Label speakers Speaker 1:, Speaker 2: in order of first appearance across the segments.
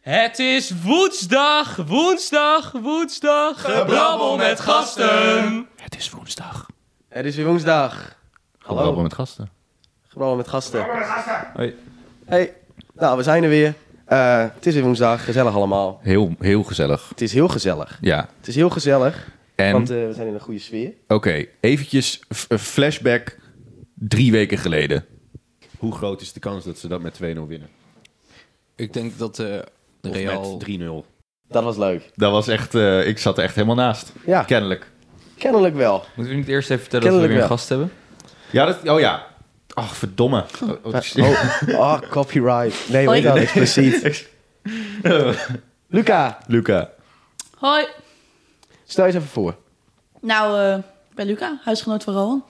Speaker 1: Het is woensdag, woensdag, woensdag. Gebrabbel met gasten.
Speaker 2: Het is woensdag.
Speaker 3: Het is weer woensdag.
Speaker 2: Hallo.
Speaker 3: Hallo,
Speaker 2: met gasten.
Speaker 3: gebrabbel met gasten.
Speaker 2: Hoi.
Speaker 3: Hey, nou, we zijn er weer. Eh, het is weer woensdag, gezellig allemaal.
Speaker 2: Heel, heel gezellig.
Speaker 3: Het is heel gezellig.
Speaker 2: Ja.
Speaker 3: Het is heel gezellig,
Speaker 2: En
Speaker 3: want
Speaker 2: oké,
Speaker 3: eh, we zijn in een goede sfeer.
Speaker 2: eventjes f- een flashback drie weken geleden.
Speaker 4: Hoe groot is de kans dat ze dat met 2-0 winnen?
Speaker 5: Ik denk dat eh
Speaker 4: Of
Speaker 5: Real...
Speaker 4: met 3-0?
Speaker 3: Dat was leuk.
Speaker 2: Dat was echt, eh, ik zat er echt helemaal naast.
Speaker 3: Ja,
Speaker 2: Kennelijk.
Speaker 3: kennelijk wel.
Speaker 5: Moeten we niet eerst even vertellen
Speaker 3: dat we Kennelijk weer een wel.
Speaker 5: gast hebben?
Speaker 2: Ja, dat, oh ja. Ach, verdomme. Oh, oh, shit.
Speaker 3: Oh, oh, copyright. Nee, weet dat expliciet. Luca,
Speaker 2: Luca.
Speaker 6: Hoi.
Speaker 3: stel je eens even voor.
Speaker 6: Nou, eh, ik ben Luca, huisgenoot van Rowan.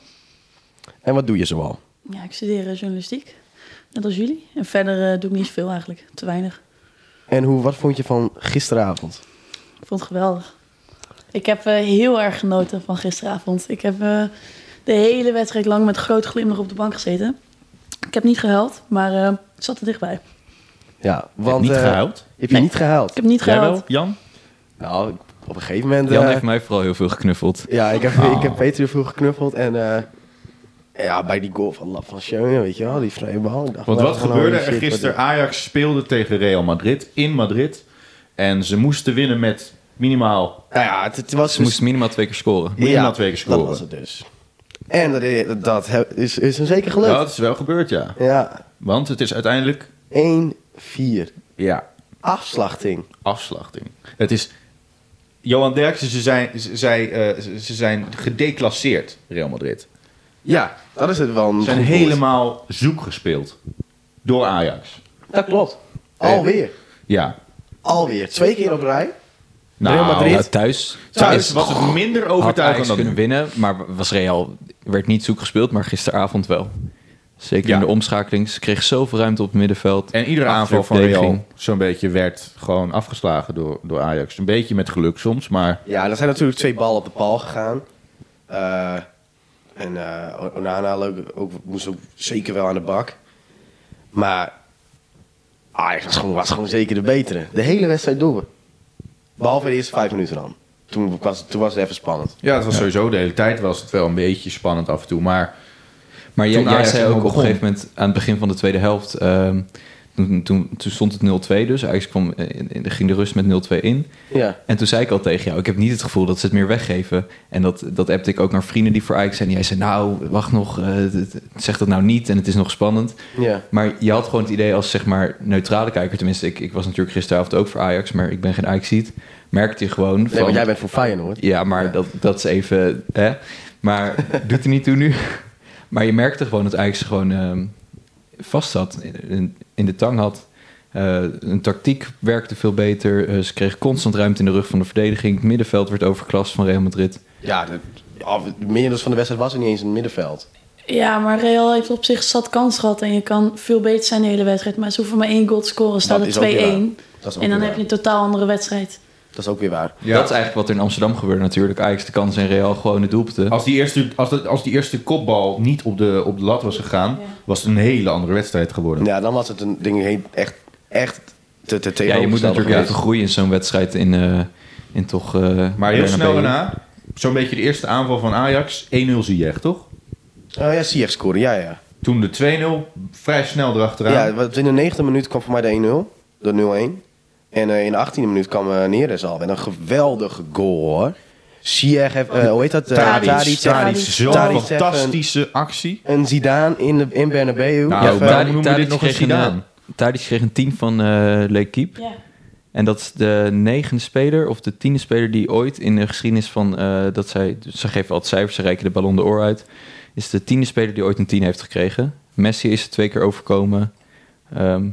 Speaker 3: En wat doe je zoal?
Speaker 6: Ja, ik studeer eh, journalistiek, net als jullie. En verder eh, doe ik niet zoveel eigenlijk, te weinig.
Speaker 3: En hoe, wat vond je van gisteravond?
Speaker 6: Ik vond het geweldig. Ik heb eh, heel erg genoten van gisteravond. Ik heb eh, de hele wedstrijd lang met groot glimlach op de bank gezeten. Ik heb niet gehuild, maar eh, ik zat er dichtbij.
Speaker 3: Ja, want...
Speaker 2: niet
Speaker 3: eh,
Speaker 2: gehuild?
Speaker 3: Heb je niet gehuild?
Speaker 6: Ik heb niet
Speaker 2: Jij
Speaker 6: gehuild.
Speaker 2: wel, Jan?
Speaker 3: Nou, op een gegeven moment...
Speaker 5: Jan
Speaker 3: eh,
Speaker 5: heeft mij vooral heel veel geknuffeld.
Speaker 3: Ja, ik heb, ik
Speaker 2: Oh.
Speaker 3: heb Peter vroeg geknuffeld en eh, ja, bij die goal van Lap van Schöne, weet je wel, die vrije bal. Ik dacht
Speaker 2: Want
Speaker 3: wel
Speaker 2: wat
Speaker 3: van,
Speaker 2: gebeurde
Speaker 3: oh,
Speaker 2: er
Speaker 3: shit, wat-
Speaker 2: gisteren? Ajax speelde tegen Real Madrid in Madrid. En ze moesten winnen met minimaal,
Speaker 3: Nou ja, het, het was
Speaker 5: Ze moest minimaal twee keer scoren.
Speaker 2: minimaal twee keer scoren.
Speaker 3: Dat was het dus. En dat, i- dat, he- is, is een zeker
Speaker 2: Ja,
Speaker 3: gelukt.
Speaker 2: dat is wel gebeurd, ja.
Speaker 3: Ja,
Speaker 2: Want het is uiteindelijk
Speaker 3: 1-4.
Speaker 2: ja,
Speaker 3: Afslachting.
Speaker 2: afslachting. Het is. Johan Derksen, ze zijn, ze, zij, eh, ze ze zijn gedeclasseerd, Real Madrid.
Speaker 3: Ja, dat is het wel. een
Speaker 2: Ze zijn
Speaker 3: goed woord.
Speaker 2: helemaal zoek gespeeld. Door Ajax.
Speaker 3: Dat klopt. Alweer.
Speaker 2: Ja.
Speaker 3: Alweer. Twee keer op rij.
Speaker 2: Nou,
Speaker 3: Real Madrid.
Speaker 5: Nou, thuis,
Speaker 2: Thuis was het minder
Speaker 5: had Ajax
Speaker 2: overtuigend dan
Speaker 5: kunnen
Speaker 2: nu.
Speaker 5: winnen, maar was Real werd niet zoek gespeeld, maar gisteravond wel. Zeker
Speaker 2: Ja.
Speaker 5: in de omschakeling. Ze kreeg zoveel ruimte op het middenveld.
Speaker 2: En iedere
Speaker 5: Achter
Speaker 2: aanval
Speaker 5: de
Speaker 2: van Real
Speaker 5: verdediging.
Speaker 2: zo'n beetje werd gewoon afgeslagen door, door Ajax. Een beetje met geluk soms, maar
Speaker 3: Ja, en er zijn natuurlijk twee ballen op de paal gegaan. Eh, en eh, Onana leuk, ook, moest ook zeker wel aan de bak. Maar Ajax was gewoon, was gewoon zeker de betere. De hele wedstrijd door. Behalve de eerste vijf minuten dan. Toen was, toen was het even spannend.
Speaker 2: ja, het was sowieso de hele tijd was het wel een beetje spannend af en toe. Maar
Speaker 5: Maar jij,
Speaker 2: Toen
Speaker 5: jij
Speaker 2: Ajax
Speaker 5: zei ook
Speaker 2: helemaal
Speaker 5: op een
Speaker 2: begon.
Speaker 5: gegeven moment aan het begin van de tweede helft. ehm, toen, toen, toen stond het 0-2 dus. Ajax kwam, eh, in- in- ging de rust met 0-2 in.
Speaker 3: Ja.
Speaker 5: En toen zei ik al tegen jou, ik heb niet het gevoel dat ze het meer weggeven. En dat, dat appte ik ook naar vrienden die voor Ajax zijn. Die jij zei, nou, wacht nog, eh, d- d- zeg dat nou niet en het is nog spannend.
Speaker 3: ja.
Speaker 5: Maar je had gewoon het idee als zeg maar neutrale kijker. Tenminste, ik, ik was natuurlijk gisteravond ook voor Ajax, maar ik ben geen Ajaxiet. Merkte je gewoon
Speaker 3: Nee,
Speaker 5: van...
Speaker 3: want jij bent voor Feyenoord.
Speaker 5: Ja, maar Dat, dat is even... Hè? Maar doet er niet toe nu. Maar je merkte gewoon dat Ajax gewoon ehm, vast zat, in- in, in de tang had. Eh, hun tactiek werkte veel beter. Eh, ze kreeg constant ruimte in de rug van de verdediging. Het middenveld werd overklast van Real Madrid.
Speaker 3: Ja, de, ja, meer dan van de wedstrijd was er niet eens in het middenveld.
Speaker 6: Ja, maar Real heeft op zich zat kans gehad. En je kan veel beter zijn de hele wedstrijd. Maar ze hoeven maar één goal te scoren. Staat
Speaker 3: Dat
Speaker 6: het 2-1.
Speaker 3: is ook weer waar. Dat is ook
Speaker 6: En dan
Speaker 3: weer
Speaker 6: heb je
Speaker 3: waar.
Speaker 6: een totaal andere wedstrijd.
Speaker 3: Dat is ook weer waar.
Speaker 2: ja.
Speaker 5: Dat is eigenlijk wat er in Amsterdam gebeurde natuurlijk. Ajax de kans en Real gewoon de doelpunten.
Speaker 2: Als die eerste, als dat, als die eerste kopbal niet op de, op de lat was gegaan,
Speaker 6: Ja.
Speaker 2: was het een hele andere wedstrijd geworden.
Speaker 3: Ja, dan was het een ding heen- echt, echt
Speaker 5: Ja,
Speaker 3: te, te
Speaker 5: je moet
Speaker 3: tegenovergestelde
Speaker 5: natuurlijk
Speaker 3: geweest.
Speaker 5: even groeien in zo'n wedstrijd in, eh, in toch... eh,
Speaker 2: Maar heel
Speaker 5: Bernabeu.
Speaker 2: snel daarna, zo'n beetje de eerste aanval van Ajax, 1-0 zie je echt, toch?
Speaker 3: Oh ja, Ziyech scoren, ja, ja.
Speaker 2: Toen de 2-0, vrij snel erachteraan.
Speaker 3: Ja, want in de 90e minuut kwam voor mij de 1-0. De 0-1. En eh, in de 18e minuut kwam eh Neres al. En een geweldige goal hoor. Ziyech heeft, eh, hoe heet dat? Eh,
Speaker 2: Tadic, Tadic,
Speaker 3: Tadic.
Speaker 2: zo'n
Speaker 3: Tadic heeft
Speaker 2: fantastische actie.
Speaker 3: Een Zidane in, de, in Bernabeu.
Speaker 2: Nou,
Speaker 5: Ja,
Speaker 3: Even-
Speaker 2: waarom
Speaker 5: Tadic,
Speaker 2: noemen we
Speaker 5: Tadic
Speaker 2: dit nog eens
Speaker 5: kreeg een,
Speaker 2: Zidane?
Speaker 5: eh, Tadic kreeg een 10 van eh L'Equipe.
Speaker 6: Ja.
Speaker 5: En dat is de negende speler of de tiende speler die ooit in de geschiedenis van... eh, dat zij, ze geven altijd cijfers, ze reiken de ballon de oor uit. Is de tiende speler die ooit een 10 heeft gekregen. Messi is er twee keer overkomen. Ehm,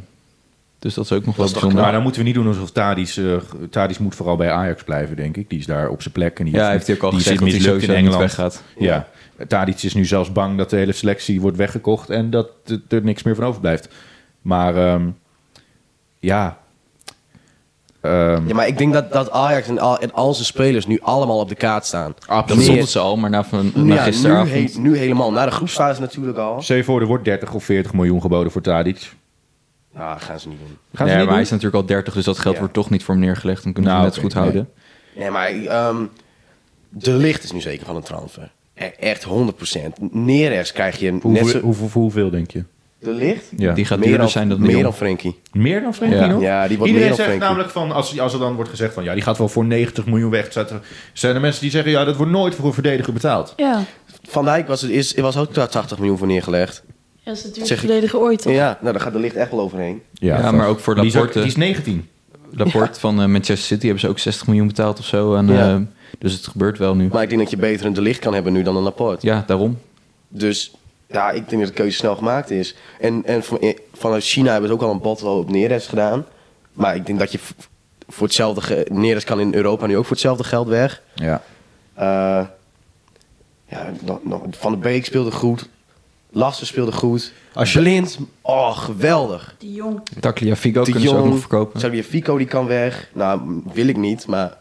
Speaker 5: dus dat is ook nog wel bijzonder.
Speaker 2: Maar dan moeten we niet doen alsof Tadic, eh, Tadic moet vooral bij Ajax blijven, denk ik. Die is daar op zijn plek. En die
Speaker 5: ja, hij heeft hij ook al
Speaker 2: die is
Speaker 5: gezegd dat hij
Speaker 2: mislukt
Speaker 5: sowieso niet weggaat.
Speaker 2: Ja. Tadic is nu zelfs bang dat de hele selectie wordt weggekocht en dat er- er niks meer van overblijft. Maar ehm, ja. Ehm,
Speaker 3: Ja, maar ik denk dat, dat Ajax en al, en al zijn spelers nu allemaal op de kaart staan.
Speaker 5: Dat
Speaker 3: Nee.
Speaker 5: stond ze al, maar na, van, na
Speaker 3: Ja, nu,
Speaker 5: gisteravond...
Speaker 3: he- nu helemaal. Na de groep staan ze natuurlijk al.
Speaker 2: Stel je voor, er wordt 30 of 40 miljoen geboden voor Tadic.
Speaker 3: Nou, gaan ze niet doen.
Speaker 2: Gaan
Speaker 5: nee,
Speaker 2: ze
Speaker 5: maar
Speaker 2: niet doen?
Speaker 5: hij is natuurlijk al 30, dus dat geld
Speaker 3: Ja.
Speaker 5: wordt toch niet voor hem neergelegd. Dan kunnen we
Speaker 2: Nou,
Speaker 5: het net
Speaker 2: oké,
Speaker 5: goed houden.
Speaker 3: Nee, maar ehm, de licht is nu zeker van een transfer. E- Echt 100%. Neres krijg je een net
Speaker 2: Hoeveel,
Speaker 3: zo...
Speaker 2: hoeveel, voor hoeveel denk je?
Speaker 3: De licht?
Speaker 2: Ja.
Speaker 5: Die gaat
Speaker 3: meer
Speaker 5: duurder
Speaker 3: dan,
Speaker 5: zijn dan de
Speaker 3: Meer
Speaker 5: Jong.
Speaker 3: dan Frenkie.
Speaker 2: Meer dan Frenkie
Speaker 5: Ja.
Speaker 2: nog?
Speaker 3: Ja, die wordt
Speaker 2: Iedereen
Speaker 3: meer dan
Speaker 2: zegt
Speaker 3: Frenkie.
Speaker 2: namelijk van, als, als er dan wordt gezegd van... ja, die gaat wel voor 90 miljoen weg. Zijn er- Zijn er mensen die zeggen, ja, dat wordt nooit voor een verdediger betaald.
Speaker 6: Ja,
Speaker 3: Van Dijk was, het, is, was ook daar 80 miljoen voor neergelegd.
Speaker 6: dat is
Speaker 3: Zeg
Speaker 6: natuurlijk
Speaker 3: ik-
Speaker 6: verdediger ooit. Toch?
Speaker 3: Ja, nou, daar gaat de licht echt wel overheen.
Speaker 5: Ja, maar ook voor
Speaker 2: die is, ook-
Speaker 5: Laporte.
Speaker 2: die is 19.
Speaker 5: Rapport van eh, Manchester City hebben ze ook 60 miljoen betaald of zo. aan,
Speaker 3: Ja.
Speaker 5: eh, dus het gebeurt wel nu.
Speaker 3: Maar ik denk dat je beter een de licht kan hebben nu dan een Laporte.
Speaker 5: Ja, daarom.
Speaker 3: Dus ja, ik denk dat de keuze snel gemaakt is. En, en van- eh, vanuit China hebben ze ook al een bot wel op Neres gedaan. Maar ik denk dat je v- voor hetzelfde... ge- Neres kan in Europa nu ook voor hetzelfde geld weg.
Speaker 2: Ja.
Speaker 3: Eh, ja, nog, nog- van de Beek speelde goed. Lassen speelde goed.
Speaker 2: Als je-
Speaker 3: Blind, oh geweldig.
Speaker 6: Die jong.
Speaker 5: Tagliafico
Speaker 3: De
Speaker 5: kunnen ze ook nog verkopen.
Speaker 3: Xavier Fico die kan weg. Nou, m- wil ik niet, maar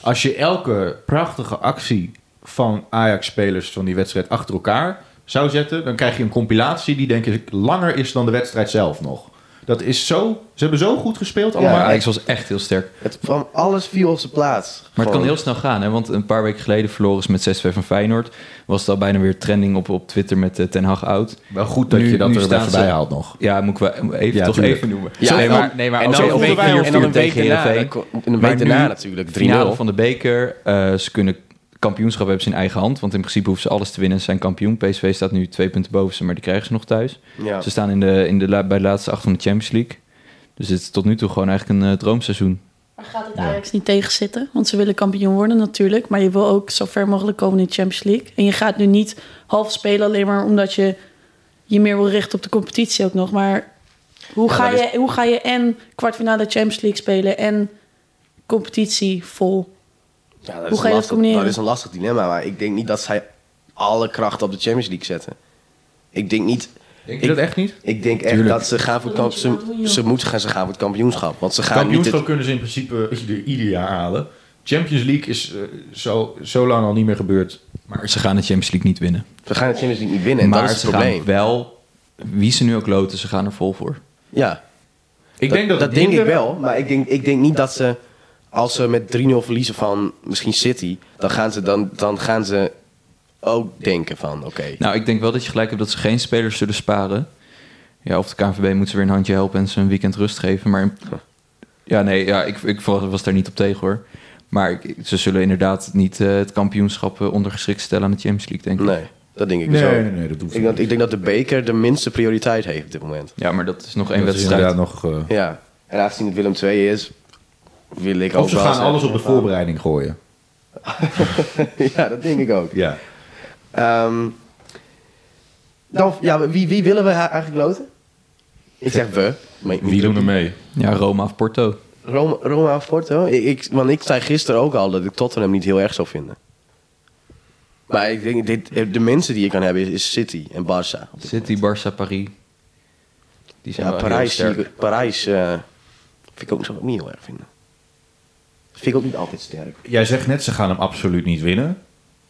Speaker 2: Als je elke prachtige actie van Ajax-spelers van die wedstrijd achter elkaar zou zetten... dan krijg je een compilatie die denk ik langer is dan de wedstrijd zelf nog. Dat is zo... Ze hebben zo goed gespeeld allemaal.
Speaker 5: maar
Speaker 3: Ja,
Speaker 5: Ajax was echt heel sterk.
Speaker 3: het kwam alles viel op zijn plaats.
Speaker 5: Maar het kan
Speaker 3: Gewoon.
Speaker 5: heel snel gaan, hè? want een paar weken geleden verloren ze met 6-2 van Feyenoord. Was het al bijna weer trending op, op Twitter met eh, Ten Hag oud.
Speaker 2: Wel goed dat
Speaker 5: Nu-
Speaker 2: je dat
Speaker 5: nu
Speaker 2: er
Speaker 5: staan
Speaker 2: even
Speaker 5: ze-
Speaker 2: bij haalt nog.
Speaker 5: Ja, moet ik wel even,
Speaker 2: Ja,
Speaker 5: toch
Speaker 2: tuurlijk.
Speaker 5: even noemen.
Speaker 3: Ja,
Speaker 5: nee,
Speaker 3: en dan-
Speaker 5: maar, nee, maar
Speaker 3: en
Speaker 5: als
Speaker 3: dan
Speaker 5: je op
Speaker 3: voelden wij ons- en dan een
Speaker 5: 4-4
Speaker 3: week
Speaker 5: tegen
Speaker 3: daarna,
Speaker 5: Heerenveen.
Speaker 3: dan ko- en een
Speaker 5: Maar
Speaker 3: week
Speaker 5: nu,
Speaker 3: daarna natuurlijk, 3-0.
Speaker 5: Finale van de beker. eh, ze kunnen kampioenschap hebben ze in eigen hand. Want in principe hoeven ze alles te winnen. Ze zijn kampioen. PSV staat nu twee punten boven ze, maar die krijgen ze nog thuis.
Speaker 3: Ja.
Speaker 5: Ze staan in de, in de, la- bij de laatste acht van de Champions League. Dus het is tot nu toe gewoon eigenlijk een eh, droomseizoen.
Speaker 6: Maar gaat het Ajax niet tegenzitten? Want ze willen kampioen worden natuurlijk. Maar je wil ook zo ver mogelijk komen in de Champions League. En je gaat nu niet half spelen alleen maar omdat je je meer wil richten op de competitie ook nog. Maar hoe, ga,
Speaker 3: dat is-
Speaker 6: je, hoe ga je en kwartfinale Champions League spelen en competitie vol?
Speaker 3: Ja,
Speaker 6: Hoe
Speaker 3: is
Speaker 6: ga je
Speaker 3: een
Speaker 6: dat
Speaker 3: lastig- Nou,
Speaker 6: combineren?
Speaker 3: Dat is een lastig dilemma, maar ik denk niet dat zij alle kracht op de Champions League zetten. Ik denk niet.
Speaker 2: Denk
Speaker 3: je dat
Speaker 2: echt niet?
Speaker 3: Ik denk echt
Speaker 2: Tuurlijk.
Speaker 3: dat ze gaan voor het kamp,
Speaker 6: Dat moet je
Speaker 3: ze,
Speaker 6: wel doen, joh.
Speaker 3: ze moeten gaan, ze gaan voor het kampioenschap. Want ze gaan niet.
Speaker 2: Kampioenschap
Speaker 3: Het,
Speaker 2: kunnen ze in principe eh, ieder, ieder jaar halen. Champions League is eh, zo, zo lang al niet meer gebeurd.
Speaker 5: Maar ze gaan de Champions League niet winnen.
Speaker 3: ze gaan de Champions League niet winnen. En
Speaker 5: maar
Speaker 3: dat is
Speaker 5: ze
Speaker 3: het probleem.
Speaker 5: gaan wel, wie ze nu ook loten, ze gaan er vol voor.
Speaker 3: Ja,
Speaker 2: Ik denk dat, het
Speaker 3: denk ik
Speaker 2: minder-
Speaker 3: wel. Maar ik denk, ik denk niet dat ze. Als ze met 3-0 verliezen van misschien City, dan gaan ze, dan, dan gaan ze ook denken van oké.
Speaker 5: Nou, ik denk wel dat je gelijk hebt dat ze geen spelers zullen sparen. Ja, of de KNVB moet ze weer een handje helpen en ze een weekend rust geven. Maar ja, nee, ja, ik, ik was, was daar niet op tegen hoor. Maar ik- ze zullen inderdaad niet eh, het kampioenschap eh, ondergeschikt stellen aan de Champions League, denk ik.
Speaker 3: Nee, dat denk ik
Speaker 2: Nee,
Speaker 3: zo.
Speaker 2: nee, nee, dat hoeft
Speaker 3: ik, denk- ik denk dat de beker de minste prioriteit heeft op dit moment.
Speaker 5: Ja, maar dat is nog één
Speaker 2: Dat is
Speaker 5: wedstrijd.
Speaker 2: inderdaad nog. eh,
Speaker 3: Ja, en aangezien het Willem 2 is, wil ik ook
Speaker 2: of ze
Speaker 3: wel
Speaker 2: gaan
Speaker 3: zeggen-
Speaker 2: alles op de voorbereiding gooien.
Speaker 3: ja, dat denk ik ook.
Speaker 2: Ja.
Speaker 3: Ehm, dan, ja, wie, wie willen we ha- eigenlijk loten? Ik zeg we. maar-
Speaker 2: mee?
Speaker 5: Ja, Roma of Porto.
Speaker 3: Roma, Roma of Porto? Ik, ik- want ik zei gisteren ook al dat ik Tottenham niet heel erg zou vinden. Maar ik denk, dit, de mensen die je kan hebben is, is City en Barça.
Speaker 5: City, Barça, Paris. Die zijn
Speaker 3: Ja,
Speaker 5: wel heel
Speaker 3: Parijs,
Speaker 5: sterk.
Speaker 3: zie ik- Parijs eh, vind ik ook, zou ik ook niet heel erg vinden. Vind ik ook niet altijd sterk.
Speaker 2: Jij zegt net, ze gaan hem absoluut niet winnen.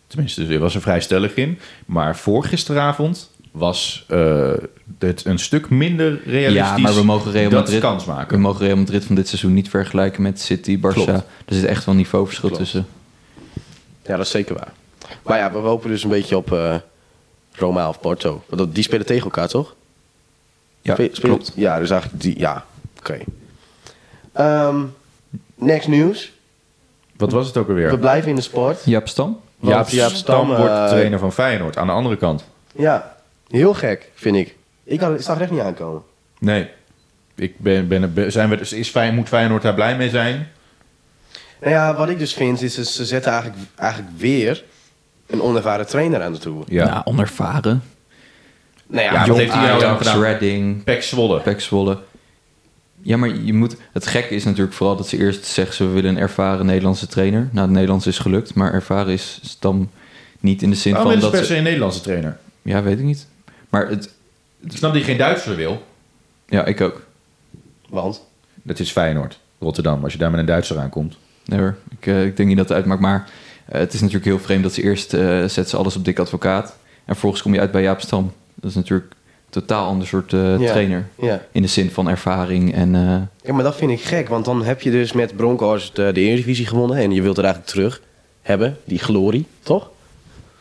Speaker 2: Tenminste, er was er vrij stellig in. Maar voor gisteravond was eh, het een stuk minder realistisch
Speaker 5: Ja, maar we mogen Real
Speaker 2: dat
Speaker 5: Madrid,
Speaker 2: ze kans
Speaker 5: We
Speaker 2: maken.
Speaker 5: mogen Real Madrid van dit seizoen niet vergelijken met City, Barça.
Speaker 2: Klopt.
Speaker 5: Er zit echt wel een niveauverschil
Speaker 3: Klopt.
Speaker 5: tussen.
Speaker 3: Ja, dat is zeker waar. Maar ja, we hopen dus een beetje op eh, Roma of Porto. Want dat- die spelen tegen elkaar, toch?
Speaker 5: Ja,
Speaker 3: Spe- spelen-
Speaker 5: klopt.
Speaker 3: Ja, dus eigenlijk die... Ja, oké. Ehm, next nieuws.
Speaker 2: Wat was het ook
Speaker 3: We
Speaker 2: alweer?
Speaker 3: blijven in de sport.
Speaker 5: Jaap Stam?
Speaker 2: Jaap,
Speaker 3: Want Jaap
Speaker 2: Stam
Speaker 3: Stam, eh,
Speaker 2: wordt trainer van Feyenoord. Aan de andere kant.
Speaker 3: Ja, heel gek, vind ik. Ik had, ik zag er echt niet aankomen.
Speaker 2: Nee. Ik ben, ben, ben- zijn we, is Feyenoord, moet Feyenoord daar blij mee zijn?
Speaker 3: Nou ja, wat ik dus vind, is dat ze zetten eigenlijk, eigenlijk weer een onervaren trainer aan de toer.
Speaker 5: Ja. onervaren.
Speaker 3: Nou ja,
Speaker 2: Ja,
Speaker 3: jong-
Speaker 2: wat Ah, heeft hij nou
Speaker 5: Ajax,
Speaker 2: dan gedaan?
Speaker 5: Reading,
Speaker 2: Pek Zwolle.
Speaker 5: Pek Zwolle. Ja, maar je moet... Het gekke is natuurlijk vooral dat ze eerst zeggen... ze willen een ervaren Nederlandse trainer. Nou, het Nederlands is gelukt, maar ervaren is Stam niet in de zin
Speaker 2: Waarom
Speaker 5: van
Speaker 2: Oh, is
Speaker 5: dat
Speaker 2: het per
Speaker 5: ze...
Speaker 2: se een Nederlandse trainer?
Speaker 5: Ja, weet ik niet. Maar het...
Speaker 2: Ik snap dat hij geen Duitser wil.
Speaker 5: Ja, ik ook.
Speaker 3: Want?
Speaker 2: Dat is Feyenoord, Rotterdam. Als je daar met een Duitser aankomt.
Speaker 5: Nee hoor, ik, eh, ik denk niet dat het uitmaakt. Maar eh, het is natuurlijk heel vreemd dat ze eerst eh zetten ze alles op dik advocaat. En vervolgens kom je uit bij Jaap Stam. Dat is natuurlijk totaal ander soort eh,
Speaker 3: Ja.
Speaker 5: trainer.
Speaker 3: Ja.
Speaker 5: In de zin van ervaring en... eh,
Speaker 3: Ja, maar dat vind ik gek, want dan heb je dus met Broncos de, de Eredivisie gewonnen en je wilt er eigenlijk terug hebben, die glorie, toch?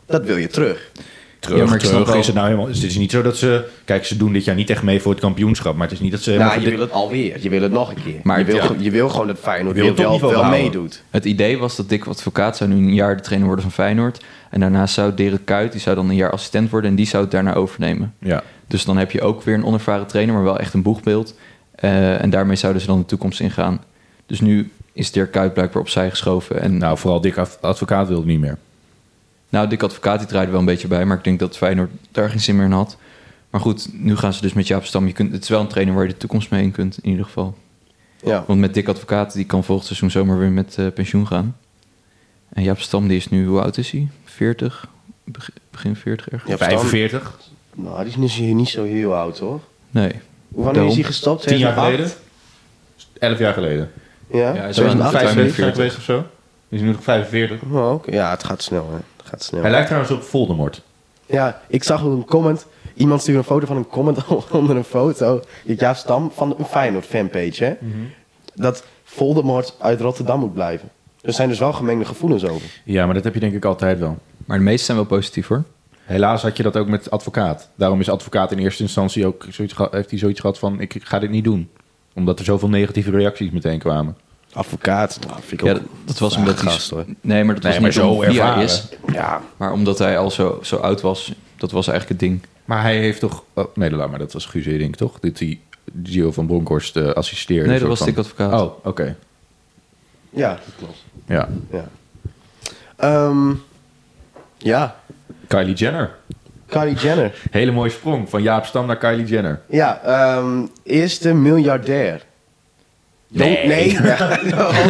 Speaker 3: Dat wil je terug.
Speaker 2: Terug,
Speaker 5: Ja, maar ik snap
Speaker 2: terug
Speaker 5: wel-
Speaker 2: is het nou helemaal... Het is niet zo dat ze... Kijk, ze doen dit jaar niet echt mee voor het kampioenschap. Maar het is niet dat ze...
Speaker 3: Nou,
Speaker 2: helemaal-
Speaker 3: je wil het alweer. Je wil het nog een keer.
Speaker 5: Maar
Speaker 3: je, wil,
Speaker 5: ja.
Speaker 3: ge- je wil gewoon dat Feyenoord
Speaker 2: Je wil
Speaker 3: wel,
Speaker 2: het
Speaker 3: wel,
Speaker 2: topniveau behouden.
Speaker 3: meedoet.
Speaker 5: Het idee was dat Dick Advocaat zou nu een jaar de trainer worden van Feyenoord. En daarnaast zou Dirk Kuyt, die zou dan een jaar assistent worden en die zou het daarna overnemen.
Speaker 2: Ja.
Speaker 5: Dus dan heb je ook weer een onervaren trainer, maar wel echt een boegbeeld. Eh, en daarmee zouden ze dan de toekomst ingaan. Dus nu is Dirk Kuyt blijkbaar opzij geschoven. En nou,
Speaker 2: Nou, vooral Dick Adv- Advocaat wilde niet meer.
Speaker 5: Dick Advocaat die draaide wel een beetje bij, maar ik denk dat Feyenoord daar geen zin meer in had. Maar goed, nu gaan ze dus met Jaap Stam. Je kunt, het is wel een trainer waar je de toekomst mee in kunt, in ieder geval.
Speaker 3: Ja.
Speaker 5: Want met Dick Advocaat, die kan volgend seizoen zomaar weer met eh, pensioen gaan. En Jaap Stam, die is nu, hoe oud is hij? 40? Beg- begin 40 ergens?
Speaker 3: Ja, Stam-
Speaker 2: 45?
Speaker 3: Nou, die is nu niet zo heel oud, hoor.
Speaker 5: Nee.
Speaker 3: Hoe wanneer
Speaker 5: Daarom.
Speaker 3: is hij gestopt?
Speaker 2: 10 jaar
Speaker 3: 2008?
Speaker 2: geleden? 11 jaar geleden.
Speaker 3: Ja,
Speaker 5: Ja, hij is wel
Speaker 3: 2008.
Speaker 2: 45
Speaker 5: 45.
Speaker 2: geweest of zo? Die is nu nog 45.
Speaker 3: Oh, oké. Ja, het gaat snel, hè. Het gaat snel.
Speaker 2: Hij lijkt trouwens op Voldemort.
Speaker 3: Ja, ik zag een comment. Iemand stuurde een foto van een comment onder een foto. Ja, Stam van een Feyenoord fanpage, hè. Dat Voldemort uit Rotterdam moet blijven. Er zijn dus wel gemengde gevoelens over.
Speaker 2: Ja, maar dat heb je denk ik altijd wel.
Speaker 5: Maar de meeste zijn wel positief hoor.
Speaker 2: Helaas had je dat ook met advocaat. Daarom is advocaat in eerste instantie ook zoiets geha- heeft hij zoiets gehad van ik ga dit niet doen. Omdat er zoveel negatieve reacties meteen kwamen.
Speaker 3: Advocaat, nou, vind ik
Speaker 5: Ja,
Speaker 3: ook...
Speaker 5: dat, dat was omdat hij...
Speaker 3: gast, hoor.
Speaker 5: Nee, maar dat was
Speaker 2: Ah, Nee, maar
Speaker 5: niet
Speaker 2: zo
Speaker 5: zo wie hij
Speaker 2: ervaren.
Speaker 5: is.
Speaker 3: Ja,
Speaker 5: Maar omdat hij al zo, zo oud was, dat was eigenlijk het ding.
Speaker 2: Maar hij heeft toch... Oh, nee, laat maar. Dat was Guus Hiddink, toch? Dit die Gio van Bronkhorst eh, assisteerde.
Speaker 5: Nee, dat was
Speaker 2: soort van.
Speaker 5: Dick Advocaat.
Speaker 2: Oh, oké.
Speaker 3: ja, dat klopt.
Speaker 2: Ja.
Speaker 3: Ja. Ehm, ja,
Speaker 2: Kylie Jenner.
Speaker 3: Kylie Jenner.
Speaker 2: Hele mooie sprong. Van Jaap Stam naar Kylie Jenner.
Speaker 3: Ja, ehm, eerste miljardair. Nee. Nee, ja, oh.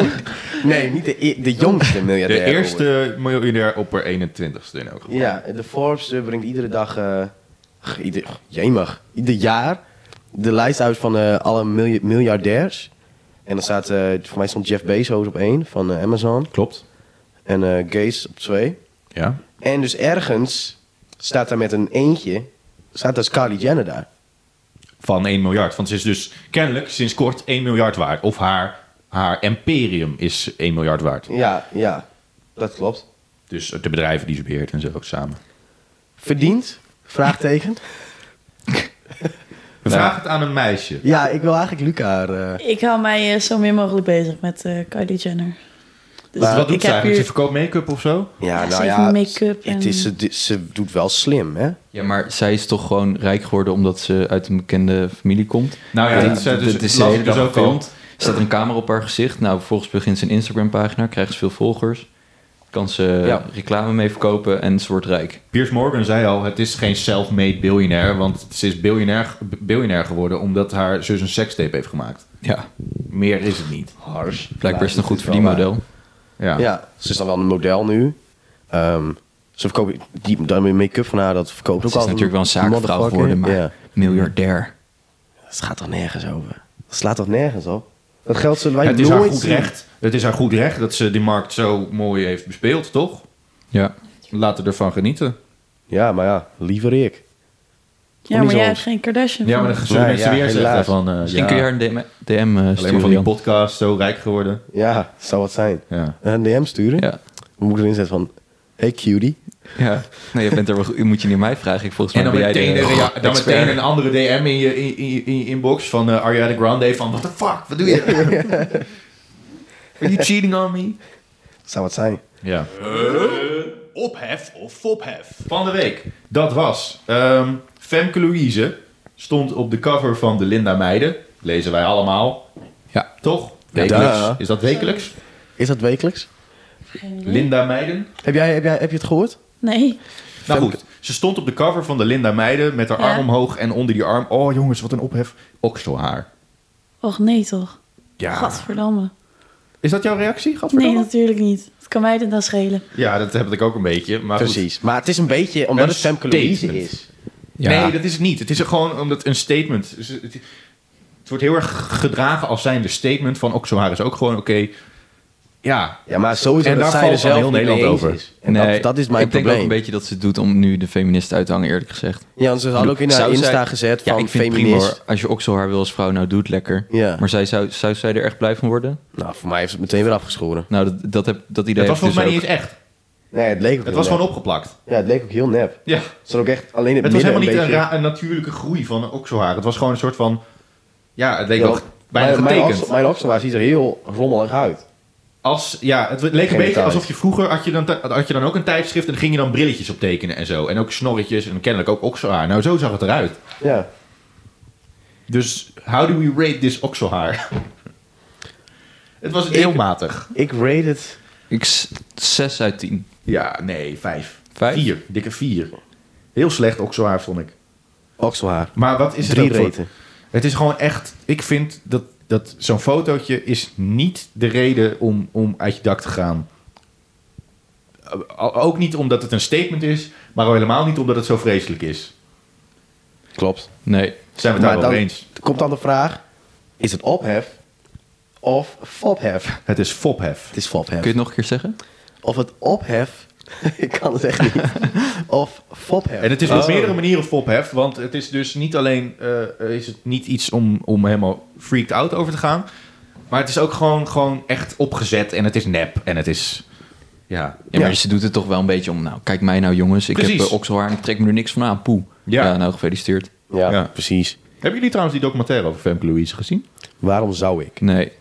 Speaker 3: nee niet de, e- de jongste
Speaker 2: De
Speaker 3: miljardair.
Speaker 2: eerste miljardair op haar 21ste in elk geval.
Speaker 3: Ja, de Forbes eh, brengt iedere dag, eh g- ieder, jemig, ieder jaar de lijst uit van eh, alle milja- miljardairs. En dan staat, eh, voor mij stond Jeff Bezos op één van eh, Amazon
Speaker 2: Klopt.
Speaker 3: en eh, Gates op twee.
Speaker 2: Ja.
Speaker 3: En dus ergens staat daar met een eentje, staat daar Kylie Jenner daar.
Speaker 2: Van 1 miljard. Want ze is dus kennelijk sinds kort 1 miljard waard. Of haar, haar imperium is 1 miljard waard.
Speaker 3: Ja, ja, dat klopt.
Speaker 2: Dus de bedrijven die ze beheert en zo ook samen.
Speaker 3: Verdiend? Vraagteken?
Speaker 2: We vragen het aan een meisje.
Speaker 3: Ja, ik wil eigenlijk Luca haar... eh,
Speaker 6: Ik hou mij eh, zo min mogelijk bezig met eh Kylie Jenner. Dus
Speaker 2: Wat- wat doet
Speaker 6: ik
Speaker 2: ze
Speaker 6: heb
Speaker 2: eigenlijk? Ze
Speaker 6: hier-
Speaker 2: verkoopt make-up of zo?
Speaker 3: Ja,
Speaker 6: Ja,
Speaker 3: nou
Speaker 6: ze
Speaker 3: ja,
Speaker 6: heeft make-up en-
Speaker 3: het is, ze, ze doet wel slim, hè?
Speaker 5: Ja, maar zij is toch gewoon rijk geworden omdat ze uit een bekende familie komt.
Speaker 2: Nou ja,
Speaker 5: Die-
Speaker 2: dat zei dus-
Speaker 5: dat is de
Speaker 2: las
Speaker 5: hele
Speaker 2: ik dus
Speaker 5: dag
Speaker 2: ook al.
Speaker 5: gefilmd. Staat er een camera op haar gezicht. Nou, vervolgens begint ze een Instagram pagina, krijgt ze veel volgers. Kan ze
Speaker 3: Ja.
Speaker 5: reclame mee verkopen en ze wordt rijk.
Speaker 2: Piers Morgan zei al, het is geen self-made biljonair. Want ze is biljonair, biljonair geworden omdat haar zus een sekstape heeft gemaakt.
Speaker 5: Ja,
Speaker 2: Meer is het niet.
Speaker 3: Harsh.
Speaker 5: blijkbaar is het een goed
Speaker 3: wel waar.
Speaker 5: verdienmodel.
Speaker 2: Ja.
Speaker 3: Ja, ze is dan wel een model nu. Ehm, ze verkoopt die daarmee make-up van haar, dat verkoopt ook
Speaker 5: Ze is
Speaker 3: al.
Speaker 5: natuurlijk wel een zaakvrouw geworden, maar
Speaker 3: Ja.
Speaker 5: miljardair.
Speaker 3: Het gaat toch nergens over? Dat slaat toch nergens op? Dat geld zullen wij
Speaker 2: Het is
Speaker 3: nooit
Speaker 2: haar goed
Speaker 3: zien.
Speaker 2: recht. Het is haar goed recht dat ze die markt zo mooi heeft bespeeld, toch?
Speaker 5: Ja.
Speaker 2: Laten we ervan genieten.
Speaker 3: Ja, maar ja, liever ik.
Speaker 6: Ja, maar
Speaker 3: Niet
Speaker 6: jij
Speaker 3: zo-
Speaker 6: hebt geen Kardashian.
Speaker 2: Ja,
Speaker 6: van.
Speaker 2: maar dan zullen
Speaker 3: Nee,
Speaker 2: mensen
Speaker 3: ja,
Speaker 2: weer
Speaker 3: helaas.
Speaker 2: zeggen van... eh,
Speaker 5: Misschien
Speaker 2: ja,
Speaker 5: kun je haar een DM, eh, DM eh,
Speaker 2: Alleen maar van die
Speaker 5: sturen. Jan.
Speaker 2: podcast, zo rijk geworden.
Speaker 3: Ja, zou wat zijn.
Speaker 2: Ja.
Speaker 3: Een DM sturen?
Speaker 5: Ja.
Speaker 3: We moeten erin zetten van... Hey cutie.
Speaker 5: Ja, nee, je bent er, wel- moet je niet mij vragen. Ik volgens
Speaker 2: En
Speaker 5: mij
Speaker 2: dan
Speaker 5: ben jij
Speaker 2: meteen,
Speaker 5: de,
Speaker 2: een, rea- dan
Speaker 5: expert.
Speaker 2: meteen een andere DM in je, in, in- in je inbox van eh, Ariana Grande van... What the fuck, wat doe je? Are you cheating on me?
Speaker 3: Zou wat zijn.
Speaker 2: Ja. ophef of fophef? Van de week. Dat was... ehm, Femke Louise stond op de cover van De Linda Meiden. Lezen wij allemaal.
Speaker 5: Ja.
Speaker 2: Toch? Wekelijks.
Speaker 3: duh.
Speaker 2: Is dat wekelijks?
Speaker 3: Is dat wekelijks?
Speaker 2: Linda Meiden?
Speaker 3: Heb, jij, heb, jij, heb je het gehoord?
Speaker 6: Nee.
Speaker 2: Nou
Speaker 3: Femke.
Speaker 2: goed, ze stond op de cover van de Linda Meijden met haar
Speaker 6: Ja.
Speaker 2: arm omhoog en onder die arm. Oh jongens, wat een ophef. Okselhaar.
Speaker 6: Och nee toch?
Speaker 2: Ja.
Speaker 6: Gadverdamme.
Speaker 2: Is dat jouw reactie?
Speaker 6: Nee,
Speaker 2: Gadverdamme?
Speaker 6: natuurlijk niet. Het kan mij dit nou schelen.
Speaker 2: Ja, dat heb ik ook een beetje. Maar goed.
Speaker 3: Precies. Maar het is een beetje omdat
Speaker 2: Een
Speaker 3: het Femke Louise
Speaker 2: statement.
Speaker 3: is.
Speaker 2: Nee, dat is het niet. Het is er gewoon omdat een statement. dus Het het wordt heel erg gedragen als zijnde statement van Okselhaar is ook gewoon oké. Ja,
Speaker 3: Ja, maar sowieso
Speaker 2: En
Speaker 3: dat
Speaker 2: daar
Speaker 3: zij er
Speaker 2: valt dan
Speaker 3: zelf
Speaker 2: heel
Speaker 3: niet mee
Speaker 2: Nederland
Speaker 3: eens
Speaker 2: over.
Speaker 3: is. En dat, dat is mijn
Speaker 5: ik denk ook
Speaker 3: probleem.
Speaker 5: een beetje dat ze het doet om nu de feministen uit te hangen, eerlijk gezegd.
Speaker 3: Ja, want ze had ook in haar
Speaker 5: Zou zij-
Speaker 3: Insta gezet
Speaker 5: Ja,
Speaker 3: van
Speaker 5: ik vind het prima
Speaker 3: feminist.
Speaker 5: hoor. Als je okselhaar wil als vrouw, nou doet lekker.
Speaker 3: Ja.
Speaker 5: Maar zij, zou, zou zij er echt blij van worden?
Speaker 3: Nou, voor mij heeft ze het meteen weer afgeschoren.
Speaker 5: Nou, dat, dat, heb, dat idee
Speaker 2: dat was
Speaker 5: heb ik
Speaker 2: volgens mij niet
Speaker 5: dus
Speaker 2: eens echt.
Speaker 3: Nee, het leek ook
Speaker 2: Het
Speaker 3: heel
Speaker 2: was
Speaker 3: nep.
Speaker 2: gewoon opgeplakt.
Speaker 3: Ja, het leek ook heel nep.
Speaker 2: Ja.
Speaker 3: Het zat ook echt alleen in het,
Speaker 2: Het was
Speaker 3: midden
Speaker 2: helemaal niet een,
Speaker 3: beetje...
Speaker 2: ra- een natuurlijke groei van een okselhaar. Het was gewoon een soort van... Ja, het leek
Speaker 3: Ja,
Speaker 2: wel
Speaker 3: want
Speaker 2: bijna
Speaker 3: mijn, mijn,
Speaker 2: getekend.
Speaker 3: oksel, mijn okselaar ziet er heel rommelig uit.
Speaker 2: Als, ja, het leek een
Speaker 3: Geen
Speaker 2: beetje
Speaker 3: details.
Speaker 2: alsof je vroeger... Had je, dan, t- had je dan ook een tijdschrift en dan ging je dan brilletjes op tekenen en zo. En ook snorretjes en kennelijk ook okselhaar. Nou, zo zag het eruit.
Speaker 3: Ja.
Speaker 2: Dus how do we rate this okselhaar? het was heel matig.
Speaker 3: Ik rate het...
Speaker 5: ook. Ik s- 6 uit 10.
Speaker 2: Ja, nee, vijf.
Speaker 5: Vijf?
Speaker 2: Vier, dikke vier. Heel slecht okselhaar vond ik.
Speaker 3: Okselhaar.
Speaker 2: Maar wat is het
Speaker 3: Drie
Speaker 2: ook voor-
Speaker 3: reten.
Speaker 2: Het is gewoon echt... Ik vind dat, dat zo'n fotootje is niet de reden om, om uit je dak te gaan. O- Ook niet omdat het een statement is, maar al helemaal niet omdat het zo vreselijk is.
Speaker 3: Klopt.
Speaker 5: Nee.
Speaker 2: Zijn we het
Speaker 3: Maar
Speaker 2: daar wel
Speaker 3: dan
Speaker 2: over eens?
Speaker 3: komt dan de vraag... Is het ophef of fophef?
Speaker 2: Het is fophef.
Speaker 3: Het is fophef.
Speaker 5: Kun je het nog een keer zeggen?
Speaker 3: Of het ophef... ik kan het echt niet. of fophef. Oh.
Speaker 2: En het is op meerdere manieren fophef, want het is dus niet alleen eh, is het niet iets om, om helemaal freaked out over te gaan, maar het is ook gewoon, gewoon echt opgezet en het is nep en het is... Ja,
Speaker 5: Ja, maar
Speaker 3: Ja.
Speaker 5: ze doet het toch wel een beetje om. Nou, kijk mij nou jongens. Ik
Speaker 2: Precies.
Speaker 5: heb eh, okselhaar en ik trek me er niks van aan. Poe.
Speaker 2: Ja.
Speaker 5: nou gefeliciteerd.
Speaker 3: Ja,
Speaker 2: Ja.
Speaker 3: precies.
Speaker 2: Hebben jullie trouwens die documentaire over Femke Louise gezien?
Speaker 3: Waarom zou ik?
Speaker 5: Nee.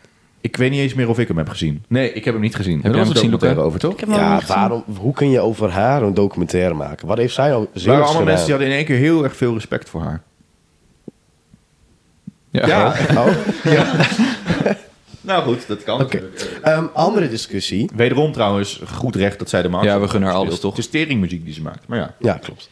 Speaker 2: Ik weet niet eens meer of ik hem heb gezien. Nee, ik heb hem niet gezien.
Speaker 5: jij
Speaker 2: Er
Speaker 5: hem
Speaker 2: was een
Speaker 5: gezien,
Speaker 2: documentaire
Speaker 5: Luca?
Speaker 2: over, toch?
Speaker 6: Ik heb hem allemaal
Speaker 3: Ja,
Speaker 6: gezien.
Speaker 3: waarom, hoe kun je over haar een documentaire maken? Wat heeft zij nou
Speaker 2: Er waren
Speaker 3: zelfs
Speaker 2: allemaal mensen die
Speaker 3: gedaan?
Speaker 2: hadden in één keer heel erg veel respect voor haar.
Speaker 5: Ja.
Speaker 3: Oh,
Speaker 2: nou goed, dat kan
Speaker 3: oké. Ehm, andere discussie.
Speaker 2: Wederom trouwens, goed recht dat zij de maand
Speaker 5: Ja, we gunnen haar alles, toch?
Speaker 2: Het is teringmuziek die ze maakt, maar ja.
Speaker 3: Ja, klopt.